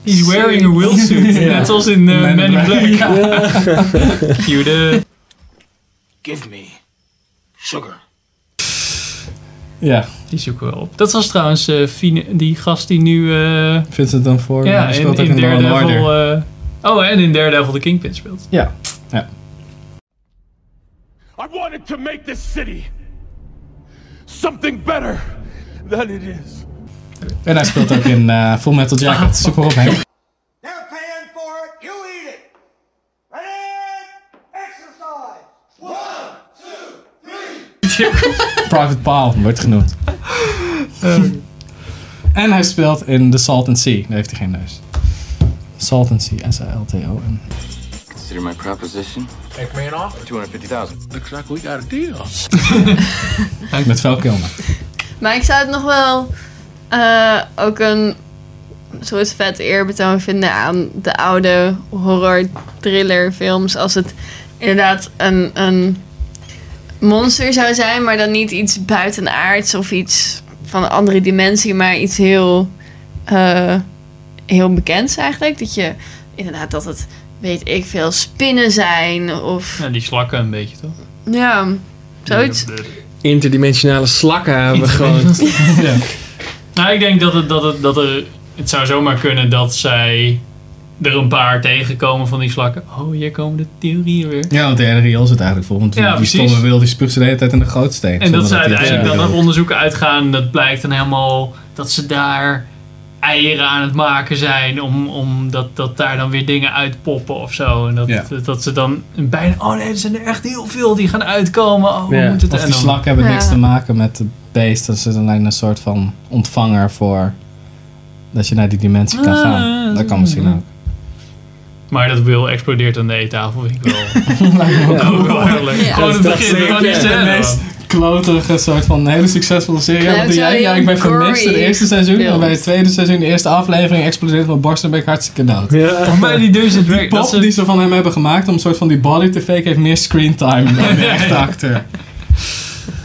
Speaker 1: He's wearing a Will suit.
Speaker 5: Ja.
Speaker 1: Net zoals in eh,
Speaker 5: Man in
Speaker 1: Man in
Speaker 5: Black.
Speaker 1: Black. Cue the-
Speaker 9: Give me sugar.
Speaker 5: Ja,
Speaker 1: Die zoeken we op. Dat was trouwens eh, Fine- die gast die nu... eh,
Speaker 5: Vincent dan voor.
Speaker 1: ja, in,
Speaker 5: speelt ook
Speaker 1: in
Speaker 5: in Law and
Speaker 1: Daredevil...
Speaker 5: Order.
Speaker 1: eh oh, en in Daredevil de Kingpin speelt.
Speaker 5: Ja, ja.
Speaker 8: I wanted to make this city something better than it is.
Speaker 5: En hij speelt ook in eh, Full Metal
Speaker 4: Ah.
Speaker 5: Jacket. Zoek maar op hem.
Speaker 10: They're paying for it. You eat it. Ready? Exercise. One, two, three.
Speaker 5: Private Paul wordt genoemd.
Speaker 1: Eh.
Speaker 5: en hij speelt in The Salt and Sea. Daar heeft hij geen neus. Salt and Sea, S-A-L-T-O-N.
Speaker 11: Consider my proposition. Make me an offer. 250000 Looks like we got a deal.
Speaker 5: Met Val Kilmer.
Speaker 4: Maar ik zou het nog wel eh, ook een soort vet eerbetoon vinden aan de oude horror-thriller-films. Als het inderdaad een, een monster zou zijn, maar dan niet iets buitenaards of iets van een andere dimensie, maar iets heel, eh, heel bekends eigenlijk. Dat je inderdaad dat het, weet ik veel, spinnen zijn of
Speaker 1: Ja, die slakken een beetje, toch?
Speaker 4: ja, zoiets.
Speaker 6: Interdimensionale slakken hebben we gewoon.
Speaker 1: Interdimensionale Nou, ik denk dat, het, dat, het, dat er... Het zou zomaar kunnen dat zij er een paar tegenkomen van die slakken. Oh, hier komen de theorieën weer.
Speaker 5: Ja, want de hele riool zit eigenlijk vol. Want
Speaker 1: Ja,
Speaker 5: die
Speaker 1: precies.
Speaker 5: stomme wil die spuugt ze de hele tijd in de gootsteen.
Speaker 1: En dat ze
Speaker 5: zonder hij
Speaker 1: uiteindelijk
Speaker 5: het
Speaker 1: dan
Speaker 5: wil.
Speaker 1: naar onderzoeken uitgaan. en Dat blijkt dan helemaal dat ze daar eieren aan het maken zijn. Om, om dat, dat daar dan weer dingen uitpoppen of zo. En dat,
Speaker 5: Ja.
Speaker 1: dat, dat ze dan een bijna... Oh nee, er zijn er echt heel veel die gaan uitkomen. Oh, we
Speaker 6: Ja.
Speaker 1: moeten het...
Speaker 5: Of die
Speaker 1: en dan-
Speaker 5: slakken hebben
Speaker 4: Ja.
Speaker 5: niks te maken met het beest. Dat ze dan een soort van ontvanger voor... Dat je naar die dimensie kan
Speaker 1: Ah.
Speaker 5: gaan. Dat kan misschien ook.
Speaker 1: Maar dat wil explodeert aan de eettafel, vind ik wel. Ook wel heel leuk.
Speaker 4: Ja.
Speaker 1: Gewoon het
Speaker 6: Dat is
Speaker 1: begin,
Speaker 6: zeker
Speaker 1: gewoon die
Speaker 6: de
Speaker 1: scène.
Speaker 5: meest kloterige soort van hele succesvolle serie.
Speaker 4: Ja,
Speaker 5: Wat doe
Speaker 4: zo
Speaker 5: jij? Ja, ik ben
Speaker 4: heel
Speaker 5: vermist het
Speaker 4: gory
Speaker 5: eerste seizoen. En
Speaker 4: gespeeld.
Speaker 5: bij het tweede seizoen, de eerste aflevering, explodeert mijn borst en ben ik hartstikke dood.
Speaker 6: Ja.
Speaker 1: Voor mij die Dungeon
Speaker 5: eh, Die
Speaker 1: Drake, dat
Speaker 5: pop
Speaker 1: ze-
Speaker 5: die ze van hem hebben gemaakt om een soort van die body te fake heeft meer screentime dan de echte acteur.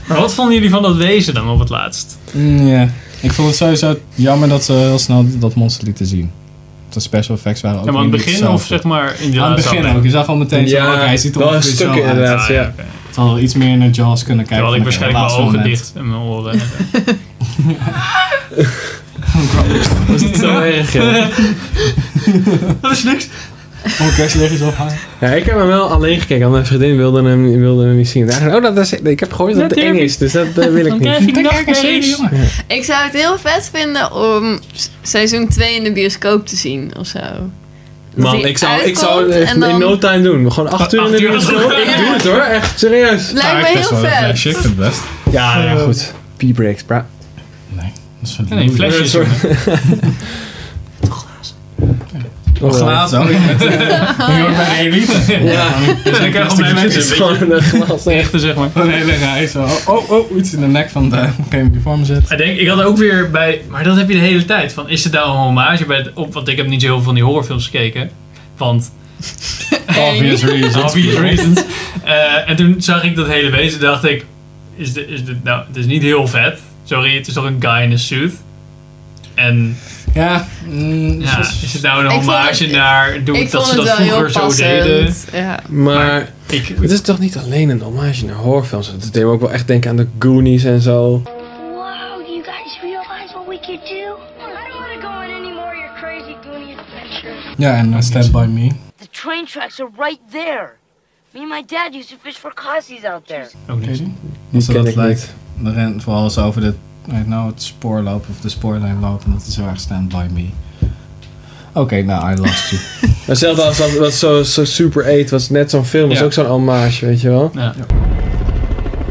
Speaker 1: Maar wat vonden jullie van dat wezen dan op het laatst?
Speaker 5: Mm, ja. Ik vond het sowieso jammer dat ze heel snel dat monster lieten zien. De special effects waren ook
Speaker 1: Ja, maar aan het
Speaker 5: weer niet
Speaker 1: begin of
Speaker 5: hetzelfde.
Speaker 1: zeg maar in die
Speaker 5: Aan
Speaker 1: laatste
Speaker 5: het begin ook.
Speaker 1: aflevering?
Speaker 5: Je zag al meteen zo,
Speaker 6: Ja,
Speaker 5: oké, hij ziet er
Speaker 6: wel een
Speaker 5: ongeveer zo
Speaker 6: stuk
Speaker 5: uit.
Speaker 6: inderdaad.
Speaker 1: Ah,
Speaker 6: Ja.
Speaker 1: oké.
Speaker 5: Het had wel iets meer naar Jaws kunnen kijken.
Speaker 1: Terwijl ik
Speaker 5: van, oké,
Speaker 1: waarschijnlijk mijn
Speaker 5: laatste
Speaker 1: ogen
Speaker 5: moment.
Speaker 1: dicht en mijn oren.
Speaker 6: Was het zo erg, ja.
Speaker 1: dat is niks.
Speaker 5: Oh, kerstlichtjes ophangen.
Speaker 6: Ja, ik heb hem wel alleen gekeken, want mijn vriendin wilde hem, wilde hem niet zien. Daar, oh, dat is, ik heb gehoord
Speaker 1: Dat
Speaker 6: dat het eng
Speaker 1: durf ik.
Speaker 6: is, dus dat eh, wil ik
Speaker 1: Dan krijg
Speaker 6: niet.
Speaker 1: ik nog eens.
Speaker 4: Ik zou het heel vet vinden om s- seizoen 2 in de bioscoop te zien of zo. Dat
Speaker 6: Man,
Speaker 4: die
Speaker 6: ik zou, ik
Speaker 4: uitkomt
Speaker 6: zou het
Speaker 4: en dan-
Speaker 6: Dus in no time doen. Gewoon acht uur in de
Speaker 1: Acht uur.
Speaker 6: bioscoop. Ik doe het hoor, echt serieus.
Speaker 4: Lijkt me heel vet.
Speaker 5: Ik vind het best.
Speaker 6: Ja, ja goed. P-breaks, bra.
Speaker 5: Nee, dat is van
Speaker 1: Nee, flesjes.
Speaker 6: Sorry.
Speaker 1: jongen.
Speaker 5: Of glazen. Oh, ik ben ook bij de elite.
Speaker 6: Ja,
Speaker 1: Ja, Dan krijgen gewoon
Speaker 6: het is
Speaker 1: mensen een beetje
Speaker 6: gewoon een glas.
Speaker 1: echte, zeg maar.
Speaker 5: Een hele rij zo. Oh, oh, iets in de nek van degene die voor me zit.
Speaker 1: Ik denk, ik had ook weer bij... Maar dat heb je de hele tijd. Van, is het nou een hommage bij het, op... Want ik heb niet zo heel veel van die horrorfilms gekeken. Want
Speaker 5: Obvious reasons.
Speaker 1: obvious reasons. Eh, en toen zag ik dat hele wezen dacht ik, is dit, is dit nou, het is niet heel vet. Sorry, het is toch een guy in a suit. En
Speaker 5: Ja, mm,
Speaker 1: ja,
Speaker 5: zoals-
Speaker 1: is het nou een
Speaker 4: Ik vond
Speaker 1: hommage
Speaker 4: het-
Speaker 1: naar, doe ik,
Speaker 4: Ik
Speaker 1: dat
Speaker 4: vond
Speaker 1: ze
Speaker 4: het
Speaker 1: dat
Speaker 4: wel
Speaker 1: vroeger
Speaker 4: heel
Speaker 1: zo
Speaker 4: passend.
Speaker 1: deden?
Speaker 4: Ja.
Speaker 6: Maar
Speaker 1: Ik,
Speaker 6: het is toch niet alleen een hommage naar horrorfilms. Het deed me ook wel echt denken aan de Goonies en zo.
Speaker 7: Whoa, do you guys realize what we could do? I don't want to go on any more of your crazy Goonie adventures.
Speaker 5: ja, en eh, Stand By Me.
Speaker 7: The train tracks are right there. Me and my dad used to fish for Cossies out there.
Speaker 1: ook niet.
Speaker 5: Die
Speaker 6: ken
Speaker 5: dat
Speaker 6: ik
Speaker 5: lijkt. Er ren vooral als ze over de, weet nou, het spoor lopen of de spoorlijn lopen. Dat is heel erg Stand By Me. Oké, nou, I lost you.
Speaker 6: Hetzelfde als dat, dat zo, zo Super 8 was net zo'n film. was
Speaker 1: Ja.
Speaker 6: ook zo'n hommage, weet je wel.
Speaker 1: Ja.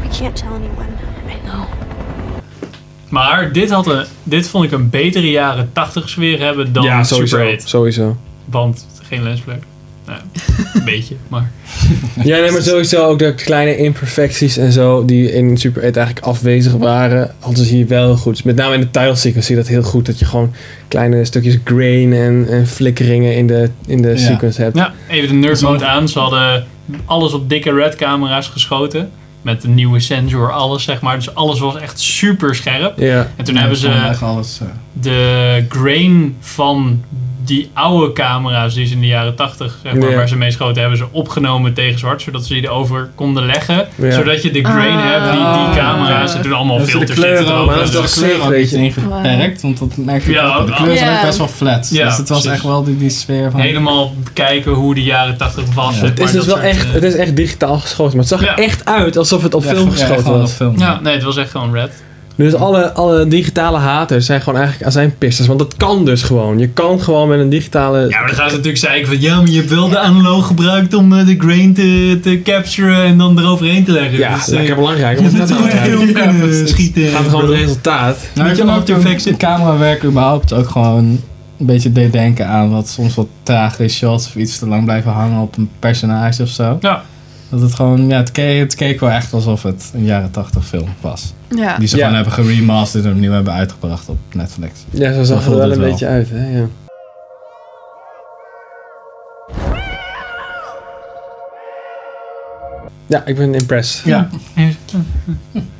Speaker 7: I can't tell anyone. I know.
Speaker 1: Maar dit, had een, dit vond ik een betere jaren 80 sfeer hebben dan Super 8.
Speaker 6: Sowieso.
Speaker 1: Want geen lensblack. Nou, een beetje, maar...
Speaker 6: Ja, nee, maar sowieso ook de kleine imperfecties en zo die in Super 8 eigenlijk afwezig waren. Hadden ze hier wel goed. Met name in de title sequence zie je dat heel goed. Dat je gewoon kleine stukjes grain en, en flikkeringen in de, in de
Speaker 5: Ja.
Speaker 6: sequence hebt.
Speaker 1: Ja, even de nerd mode aan. Ze hadden alles op dikke red camera's geschoten. Met de nieuwe sensor, alles zeg maar. Dus alles was echt super scherp.
Speaker 6: Ja.
Speaker 1: En toen hebben
Speaker 5: Ja, gewoon
Speaker 1: ze
Speaker 5: echt alles. eh,
Speaker 1: de grain van die oude camera's die ze in de jaren 80, zeg maar,
Speaker 6: Ja.
Speaker 1: waar ze mee schoten, hebben ze opgenomen tegen zwart, zodat ze die erover konden leggen.
Speaker 6: Ja.
Speaker 1: Zodat je de grain
Speaker 6: Ah.
Speaker 1: hebt, die, die camera's, ze doen allemaal
Speaker 5: Dus de
Speaker 1: filters
Speaker 5: kleuren,
Speaker 1: zitten
Speaker 5: maar dat is de kleuren ook iets ingeperkt, want dat merkte ik ook. De kleuren zijn ook best wel flat.
Speaker 1: Ja,
Speaker 5: dus het was
Speaker 1: precies.
Speaker 5: echt wel die, die sfeer van...
Speaker 1: Helemaal kijken hoe de jaren 80 was. zeg
Speaker 6: Het
Speaker 1: maar,
Speaker 6: is dus
Speaker 1: dat
Speaker 6: wel
Speaker 1: soort,
Speaker 6: echt,
Speaker 1: eh,
Speaker 6: het is echt digitaal geschoten, maar het zag er echt uit alsof het op film geschoten was.
Speaker 1: Ja, nee, het was echt gewoon red.
Speaker 6: Dus alle, alle digitale haters zijn gewoon eigenlijk azijnpisters, want dat kan dus gewoon. Je kan gewoon met een digitale...
Speaker 1: Ja, maar dan gaan ze natuurlijk zeiken van ja, maar je hebt wel de analoog gebruikt om eh, de grain te, te capturen en dan eroverheen te leggen.
Speaker 6: Ja,
Speaker 1: dus, eh,
Speaker 6: lekker belangrijk.
Speaker 1: Je moet
Speaker 6: want dat
Speaker 1: gewoon een
Speaker 6: gaat-
Speaker 1: film kunnen schieten.
Speaker 6: Gaat gewoon het resultaat.
Speaker 5: Nou, ik vind ook de, de camerawerk überhaupt ook gewoon een beetje deed denken aan wat soms wat tragere shots of iets te lang blijven hangen op een personage of zo.
Speaker 1: Ja.
Speaker 5: Dat het gewoon, ja, het keek, het keek wel echt alsof het een jaren tachtig film was.
Speaker 6: Ja.
Speaker 5: Die ze
Speaker 6: Ja.
Speaker 5: gewoon hebben geremasterd en opnieuw hebben uitgebracht op Netflix.
Speaker 6: Ja, zo zag het er
Speaker 5: voelde
Speaker 6: wel een
Speaker 5: het
Speaker 6: beetje uit, hè? Ja. Ja, ik ben impressed.
Speaker 5: Ja.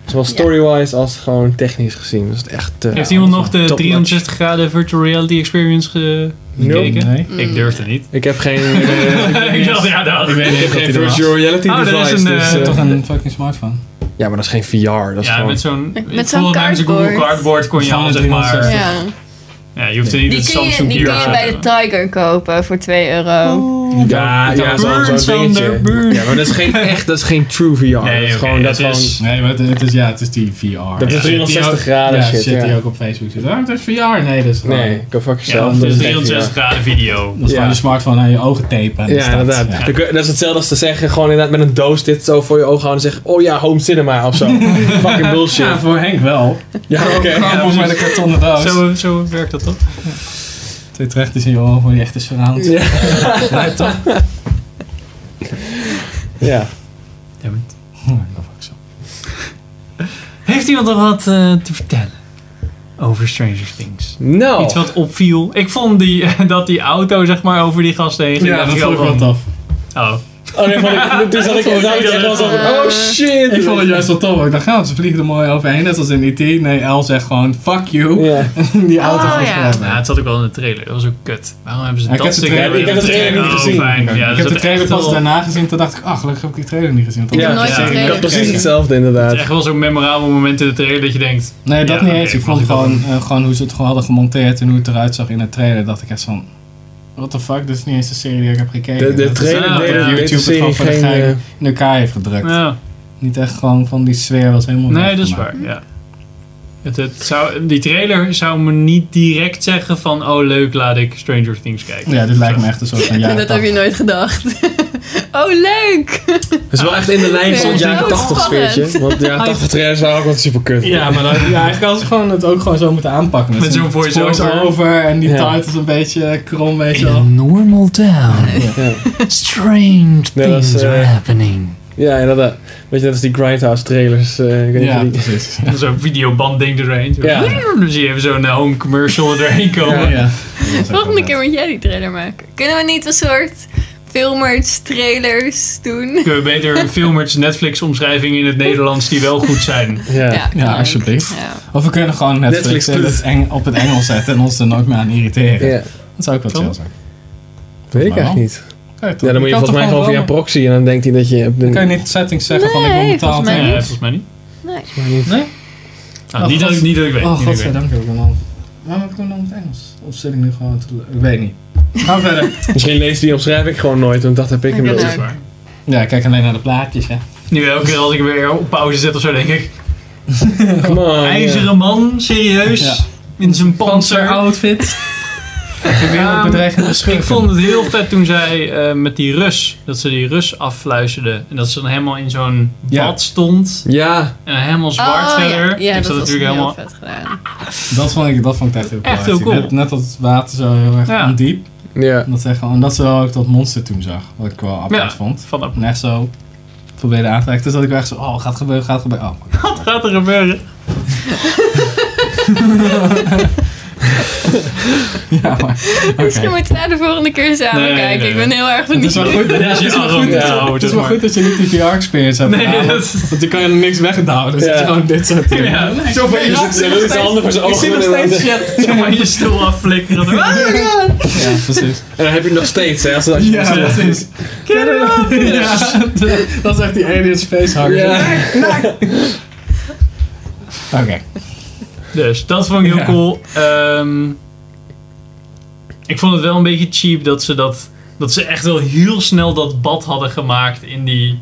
Speaker 6: Zowel story-wise als gewoon technisch gezien. Dus het echt, eh,
Speaker 1: Heeft iemand nog
Speaker 6: top
Speaker 1: de
Speaker 6: notch.
Speaker 1: 360 graden virtual reality experience ge-
Speaker 6: Nope.
Speaker 1: gekeken?
Speaker 4: Mm.
Speaker 6: Nee.
Speaker 1: Ik durfde niet.
Speaker 6: Ik heb geen...
Speaker 1: ik dacht, ja, dat.
Speaker 6: Ik weet niet of dat die er was. Oh, dat is een, eh,
Speaker 5: toch een fucking smartphone.
Speaker 6: Ja, maar dat is geen VR. Dat is
Speaker 1: ja,
Speaker 6: gewoon...
Speaker 1: met zo'n...
Speaker 4: Met
Speaker 1: ik
Speaker 4: zo'n
Speaker 1: voel namens een Google
Speaker 4: cardboard.
Speaker 1: Cardboard kon je
Speaker 6: Zo'n
Speaker 1: al, zeg maar...
Speaker 6: 360.
Speaker 4: Ja.
Speaker 1: Ja, je hoeft er niet een
Speaker 4: Die kun je,
Speaker 1: Samsung
Speaker 4: die kun
Speaker 1: Gear
Speaker 4: je
Speaker 1: aan te
Speaker 4: bij de
Speaker 1: hebben.
Speaker 4: Tiger kopen voor 2 euro.
Speaker 6: Ja, ja zo'n zo'n dingetje. Ja, maar dat is geen echt, dat is geen true VR. dat is gewoon, dat is gewoon...
Speaker 5: Nee, maar het, het is, ja, het is die VR.
Speaker 6: Dat is
Speaker 5: Ja,
Speaker 6: 360
Speaker 5: die ook-
Speaker 6: graden
Speaker 5: ja,
Speaker 6: shit,
Speaker 5: shit
Speaker 6: ja.
Speaker 5: die ook op Facebook zit. Ah, het is VR. Nee, dat is gewoon...
Speaker 6: Nee, go fuck
Speaker 5: Ja,
Speaker 6: yourself.
Speaker 5: dat
Speaker 6: dat
Speaker 5: is
Speaker 6: is geen
Speaker 1: 360
Speaker 6: VR.
Speaker 1: graden video.
Speaker 5: Dat is gewoon je smartphone aan je ogen tapen. en
Speaker 6: Ja,
Speaker 5: staat-
Speaker 6: inderdaad.
Speaker 5: ja.
Speaker 6: Dan kun- Dat is hetzelfde als te zeggen, gewoon inderdaad met een doos dit zo voor je ogen houden en zeggen, oh ja, home cinema of zo. Fucking bullshit.
Speaker 5: Ja, voor Henk wel.
Speaker 6: Ja, oké. Ja,
Speaker 5: Chromebook met een kartonnen doos.
Speaker 1: Zo, zo werkt dat toch?
Speaker 5: Zit recht is in je ogen voor die echte surround.
Speaker 6: Ja.
Speaker 5: Lijkt toch?
Speaker 6: Ja.
Speaker 1: Hm, Heeft iemand nog wat eh, te vertellen over Stranger Things?
Speaker 5: Oh.
Speaker 6: Nou.
Speaker 1: Iets wat opviel. Ik vond die, dat die auto zeg maar over die gast heen ging.
Speaker 5: Ja, dat vond ik wel
Speaker 1: tof. Oh.
Speaker 6: Oh nee, vond ik, toen zat ik in de auto en was van, oh shit.
Speaker 5: Ik vond het juist wel tof. Ik dacht, ja, ze vliegen er mooi overheen. Net als in E.T. Nee, El zegt gewoon, fuck you. die auto
Speaker 1: Oh,
Speaker 5: vliegt
Speaker 1: ja.
Speaker 5: eroverheen.
Speaker 1: het zat ook wel in de trailer. Dat was ook kut. Waarom hebben ze
Speaker 5: Ja, ik
Speaker 1: dat
Speaker 5: heb de
Speaker 1: stuk
Speaker 5: trailer, ik heb de trailer niet
Speaker 1: Oh,
Speaker 5: gezien.
Speaker 1: fijn. Ja,
Speaker 5: ik
Speaker 1: dat
Speaker 5: heb de
Speaker 1: is
Speaker 5: trailer
Speaker 1: echt
Speaker 5: pas
Speaker 1: wel-
Speaker 5: daarna gezien. Toen dacht ik, ach, gelukkig heb ik die trailer niet gezien. want
Speaker 1: Ik heb
Speaker 5: had
Speaker 1: nooit de trailer
Speaker 5: gekeken.
Speaker 1: gekeken. Het
Speaker 6: inderdaad.
Speaker 1: is echt wel zo'n memorabel moment in de trailer dat je denkt...
Speaker 5: Nee, dat
Speaker 1: ja,
Speaker 5: niet
Speaker 1: oké,
Speaker 5: eens. Ik
Speaker 1: was
Speaker 5: vond
Speaker 1: wel
Speaker 5: gewoon,
Speaker 1: een-
Speaker 5: eh, gewoon hoe ze het gewoon hadden gemonteerd en hoe het eruit zag in de trailer. Dacht ik echt van, what the fuck, dit is niet eens de serie die ik heb gekeken.
Speaker 6: De- de
Speaker 5: Dat is
Speaker 6: trailer
Speaker 5: dat
Speaker 6: deed-
Speaker 5: YouTube
Speaker 6: deed de
Speaker 5: het
Speaker 6: serie
Speaker 5: gewoon voor de
Speaker 6: geen,
Speaker 5: gein
Speaker 6: eh,
Speaker 5: in elkaar heeft gedrukt.
Speaker 1: Ja.
Speaker 5: Niet echt gewoon van die sfeer was helemaal
Speaker 1: Nee,
Speaker 5: weg
Speaker 1: dat is
Speaker 5: gemaakt.
Speaker 1: waar, ja. Het, het zou, die trailer zou me niet direct zeggen van... Oh, leuk, laat ik Stranger Things kijken.
Speaker 5: Ja, dit lijkt me echt een soort van jaren
Speaker 4: dat heb je nooit gedacht. oh, leuk!
Speaker 6: Het is wel echt in de lijn van het
Speaker 4: Ja,
Speaker 6: jaren
Speaker 4: zo
Speaker 6: 80
Speaker 4: spannend.
Speaker 6: sfeertje. Want de jaren 80 trailers waren ook wel super kut.
Speaker 5: Oh, Ja, maar dan, ja, eigenlijk hadden ze gewoon het ook gewoon zo moeten aanpakken.
Speaker 1: Met zo'n voice-over.
Speaker 5: over en die
Speaker 1: Ja.
Speaker 5: titles een beetje krom, weet je wel.
Speaker 1: normal town,
Speaker 6: Ja.
Speaker 1: strange
Speaker 6: Nee, dat is, things are eh,
Speaker 1: happening.
Speaker 6: Ja, inderdaad. Weet je, dat is die Grindhouse trailers. eh, ik weet
Speaker 1: Ja,
Speaker 6: niet of je die-
Speaker 5: precies.
Speaker 1: Zo'n videoband ding erheen. Zo.
Speaker 6: Ja.
Speaker 1: Dan zie je even zo'n eh, home commercial erheen komen.
Speaker 6: Ja, ja.
Speaker 4: Volgende keer moet jij die trailer maken. Kunnen we niet een soort filmers, trailers doen?
Speaker 1: Kunnen we beter eh, filmers Netflix omschrijvingen in het Nederlands die wel goed zijn.
Speaker 6: Ja,
Speaker 5: ja, alsjeblieft. Of we kunnen gewoon
Speaker 1: Netflix
Speaker 5: Netflix, in het Eng- op het Engels zetten en ons er nooit meer aan irriteren.
Speaker 6: Ja.
Speaker 5: Dat zou ook wel
Speaker 6: Kan?
Speaker 5: chill zijn.
Speaker 6: Weet ik
Speaker 5: Maar wel.
Speaker 6: eigenlijk niet.
Speaker 5: Kan je toch-
Speaker 6: Ja, dan moet
Speaker 5: je
Speaker 6: je
Speaker 5: kan
Speaker 6: volgens mij
Speaker 5: toch
Speaker 6: gewoon via
Speaker 5: gewoon
Speaker 6: proxy en dan denkt hij dat je... op de-
Speaker 5: Dan kan je niet settings zeggen van ik wil
Speaker 4: Nee,
Speaker 5: betaald
Speaker 4: volgens mij
Speaker 5: hebben.
Speaker 4: niet.
Speaker 1: Eh, Volgens mij niet.
Speaker 4: Nee.
Speaker 5: Nee?
Speaker 1: Nou, niet, dat ik, niet dat ik weet.
Speaker 5: Oh,
Speaker 1: niet dat ik weet.
Speaker 5: godzijdank heb ik hem al. Waarom heb ik hem dan in het Engels? Of zit ik nu gewoon te... Ik weet niet. Gaan we verder.
Speaker 6: Misschien leest die omschrijving gewoon nooit, want dat heb ik hem
Speaker 1: Ja,
Speaker 6: wel.
Speaker 1: dat is waar.
Speaker 5: Ja, ik kijk alleen naar de plaatjes, hè.
Speaker 1: Nu elke keer als ik weer op pauze zet of zo, denk ik...
Speaker 6: Come on,
Speaker 1: IJzeren man, serieus?
Speaker 5: Ja.
Speaker 1: In zijn panzer.
Speaker 5: outfit.
Speaker 1: Ja,
Speaker 5: bedreigende
Speaker 1: ik vond het heel vet toen zij eh, met die Rus, dat ze die Rus affluisterde. En dat ze dan helemaal in zo'n
Speaker 5: Ja.
Speaker 1: bad stond.
Speaker 6: Ja.
Speaker 1: En helemaal zwart
Speaker 4: Oh, ja.
Speaker 1: verder.
Speaker 4: Ja,
Speaker 1: ik zat
Speaker 4: dat was
Speaker 1: natuurlijk helemaal...
Speaker 4: heel vet gedaan.
Speaker 5: Dat vond ik, dat vond ik echt heel cool.
Speaker 1: Echt heel cool.
Speaker 5: Net, net dat het water zo heel erg
Speaker 1: Ja.
Speaker 5: ondiep.
Speaker 6: Ja.
Speaker 5: Dat ze gewoon, en dat ze wel ook dat monster toen zag. Wat ik wel apart vond.
Speaker 1: Van
Speaker 5: en echt zo probeerde aan te kijken. Toen zat ik wel echt zo, oh, gaat gebeuren, gaat gebeuren. Oh,
Speaker 1: Wat gaat er gebeuren?
Speaker 5: ja, maar.
Speaker 4: Misschien moeten we daar de volgende keer samen
Speaker 5: Nee,
Speaker 4: kijken.
Speaker 5: nee,
Speaker 4: Ik ben heel erg benieuwd.
Speaker 5: Het is wel goed, ja, het is wel goed, dat je- het is wel goed dat je niet die VR-experience hebt
Speaker 1: Nee,
Speaker 5: gedaan,
Speaker 1: dat
Speaker 5: want- Want dan kan je er niks weghouden. Dus
Speaker 1: Ja.
Speaker 5: het is gewoon dit soort dingen.
Speaker 1: Ja,
Speaker 5: Nee,
Speaker 1: zoveel
Speaker 5: nee,
Speaker 1: irritatie.
Speaker 5: ik zie
Speaker 1: Ja,
Speaker 5: nog
Speaker 1: dat is
Speaker 5: steeds-
Speaker 1: handig voor zijn
Speaker 5: Ik zie nog
Speaker 1: ogen en
Speaker 5: steeds
Speaker 1: dan-
Speaker 5: shit.
Speaker 1: Zo van je stoel afflikkeren. Oh my god!
Speaker 5: Ja, precies.
Speaker 6: En dan heb je hem nog steeds, hè? Zodat je
Speaker 5: Ja, precies.
Speaker 1: Get it up!
Speaker 5: Ja, dat is echt die alien spacehanger. Oké.
Speaker 1: Dus dat vond ik heel
Speaker 5: Ja.
Speaker 1: cool. Ehm, ik vond het wel een beetje cheap dat ze dat, dat ze echt wel heel snel dat bad hadden gemaakt in die,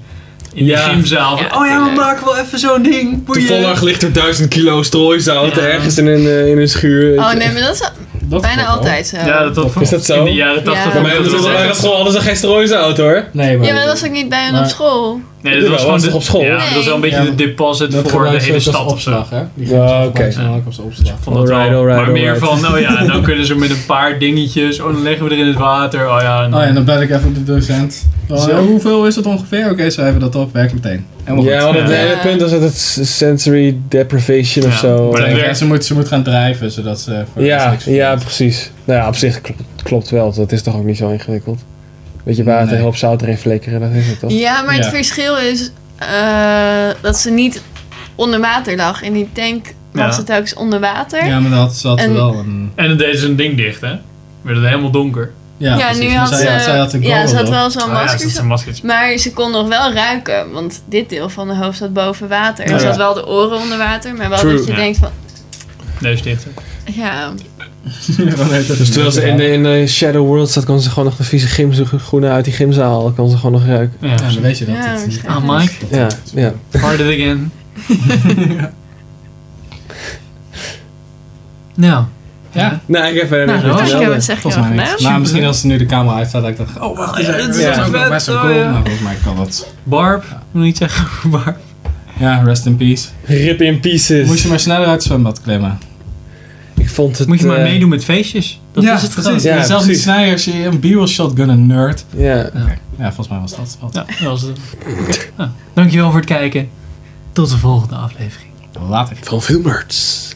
Speaker 1: in die
Speaker 6: Ja.
Speaker 1: gymzaal. Van, oh ja, we maken wel even zo'n ding. boeien."
Speaker 6: Toevallig ligt er duizend kilo strooizout ergens in een, eh, in een schuur.
Speaker 4: Oh nee, maar dat is bijna altijd zo.
Speaker 1: Ja, dat, dat
Speaker 6: Is dat zo?
Speaker 1: in de jaren 80
Speaker 4: Ja.
Speaker 1: vond ik
Speaker 6: Maar
Speaker 1: dat
Speaker 6: dat
Speaker 1: wel
Speaker 6: waren
Speaker 1: echt-
Speaker 6: gewoon alles geen strooizout hoor.
Speaker 5: Nee,
Speaker 4: Ja, maar dat was ook niet bij hun
Speaker 6: Maar-
Speaker 4: op school.
Speaker 1: Nee, dat was
Speaker 6: Jawel,
Speaker 1: gewoon
Speaker 6: was
Speaker 1: de-
Speaker 6: toch op school?
Speaker 1: Ja, dat was wel een beetje
Speaker 5: Ja,
Speaker 1: de deposit
Speaker 5: Dat
Speaker 1: voor de
Speaker 5: gebruiken ze
Speaker 1: hele
Speaker 5: ook als
Speaker 1: stad of zo.
Speaker 5: opslag, hè? Die
Speaker 6: Ja,
Speaker 5: gaan ze
Speaker 6: oké.
Speaker 5: waarschijnlijk als opslag.
Speaker 1: Vond dat wel.
Speaker 6: Alright, alright,
Speaker 1: maar meer
Speaker 6: alright.
Speaker 1: van, oh ja, dan kunnen ze met een paar dingetjes, oh dan leggen we er in het water, oh ja. en dan-
Speaker 5: Oh ja, dan bel ik even de docent. Oh,
Speaker 1: Zo.
Speaker 5: hoeveel is het ongeveer? Oké, schrijven dat op. Werk meteen. Helemaal
Speaker 6: Ja,
Speaker 5: goed.
Speaker 6: want het
Speaker 1: Ja.
Speaker 6: hele punt was dat het s- sensory deprivation of
Speaker 1: Ja,
Speaker 6: zo.
Speaker 1: maar dat
Speaker 5: Ja,
Speaker 1: werkt.
Speaker 5: ze, moet, ze moet gaan drijven, zodat ze voor de rest
Speaker 6: Ja,
Speaker 5: niks
Speaker 6: ja, precies. Nou ja, op zich kl- klopt wel. Dat is toch ook niet zo ingewikkeld. Weet je, water,
Speaker 5: Nee.
Speaker 6: heel op zout erin flikkeren, dat is het toch?
Speaker 4: Ja, maar het
Speaker 5: Ja.
Speaker 4: verschil is eh, dat ze niet onder water lag. In die tank lag
Speaker 1: Ja.
Speaker 4: ze telkens onder water.
Speaker 5: Ja, maar dat zat
Speaker 4: En-
Speaker 5: wel een...
Speaker 1: En dan deden ze een ding dicht, hè? Werd het helemaal donker.
Speaker 5: Ja,
Speaker 4: Ja,
Speaker 5: precies.
Speaker 4: nu
Speaker 5: Maar
Speaker 4: had
Speaker 5: zij,
Speaker 4: ze,
Speaker 5: ja, zij had een
Speaker 4: ja, ze
Speaker 5: GoPro
Speaker 4: had
Speaker 5: op.
Speaker 4: wel zo'n
Speaker 1: Oh ja,
Speaker 4: masker.
Speaker 1: dat is een maskertje.
Speaker 4: maar ze kon nog wel ruiken, want dit deel van de hoofd zat boven water.
Speaker 1: Ja.
Speaker 4: Er zat wel de oren onder water, maar wel
Speaker 6: True.
Speaker 4: dat je
Speaker 1: Ja.
Speaker 4: denkt van,
Speaker 1: Neus dicht.
Speaker 5: Oh,
Speaker 4: ja,
Speaker 6: Dus terwijl ze in de, in de Shadow World zat, kon ze gewoon nog de vieze gymschoenen uit die gymzaal. Kon ze gewoon nog ruiken.
Speaker 1: Ja.
Speaker 5: Ja, dan weet je dat.
Speaker 4: Ja,
Speaker 5: het niet-
Speaker 4: waarschijnlijk.
Speaker 1: Ah, Mike,
Speaker 6: Ja, ja.
Speaker 1: hard it again. Nou,
Speaker 5: Ja,
Speaker 6: Nee, ik heb verder
Speaker 1: Nou,
Speaker 6: niks
Speaker 1: dat was
Speaker 4: ik
Speaker 6: meer te melden.
Speaker 4: heb het zeg je
Speaker 5: volgens mij
Speaker 4: wel
Speaker 5: niet.
Speaker 4: gedaan.
Speaker 5: Nou, misschien als ze nu de camera uitstaat, dat ik dacht, oh, wacht,
Speaker 1: Ja, dit
Speaker 5: dat
Speaker 1: is
Speaker 5: is
Speaker 1: echt
Speaker 5: ook
Speaker 1: vet,
Speaker 5: wel best wel
Speaker 1: oh,
Speaker 5: cool.
Speaker 1: ja.
Speaker 5: Maar volgens mij kan dat.
Speaker 1: Barb, ik moet niet zeggen over Barb.
Speaker 5: Ja, rest in peace.
Speaker 6: Rip in pieces.
Speaker 5: Moest je maar sneller uit het zwembad klimmen.
Speaker 6: Ik vond het...
Speaker 1: Moet je maar
Speaker 6: eh,
Speaker 1: meedoen met feestjes. Dat is het gewoon.
Speaker 5: precies.
Speaker 6: Ja,
Speaker 5: En zelfs die
Speaker 6: precies.
Speaker 5: snijers, je een b-roll shotgun, een nerd.
Speaker 6: Ja.
Speaker 5: Ja, volgens mij was dat wat.
Speaker 1: Ja, dat was het. Ja. Dankjewel voor het kijken. Tot de volgende aflevering.
Speaker 5: Later.
Speaker 6: Van veel nerds.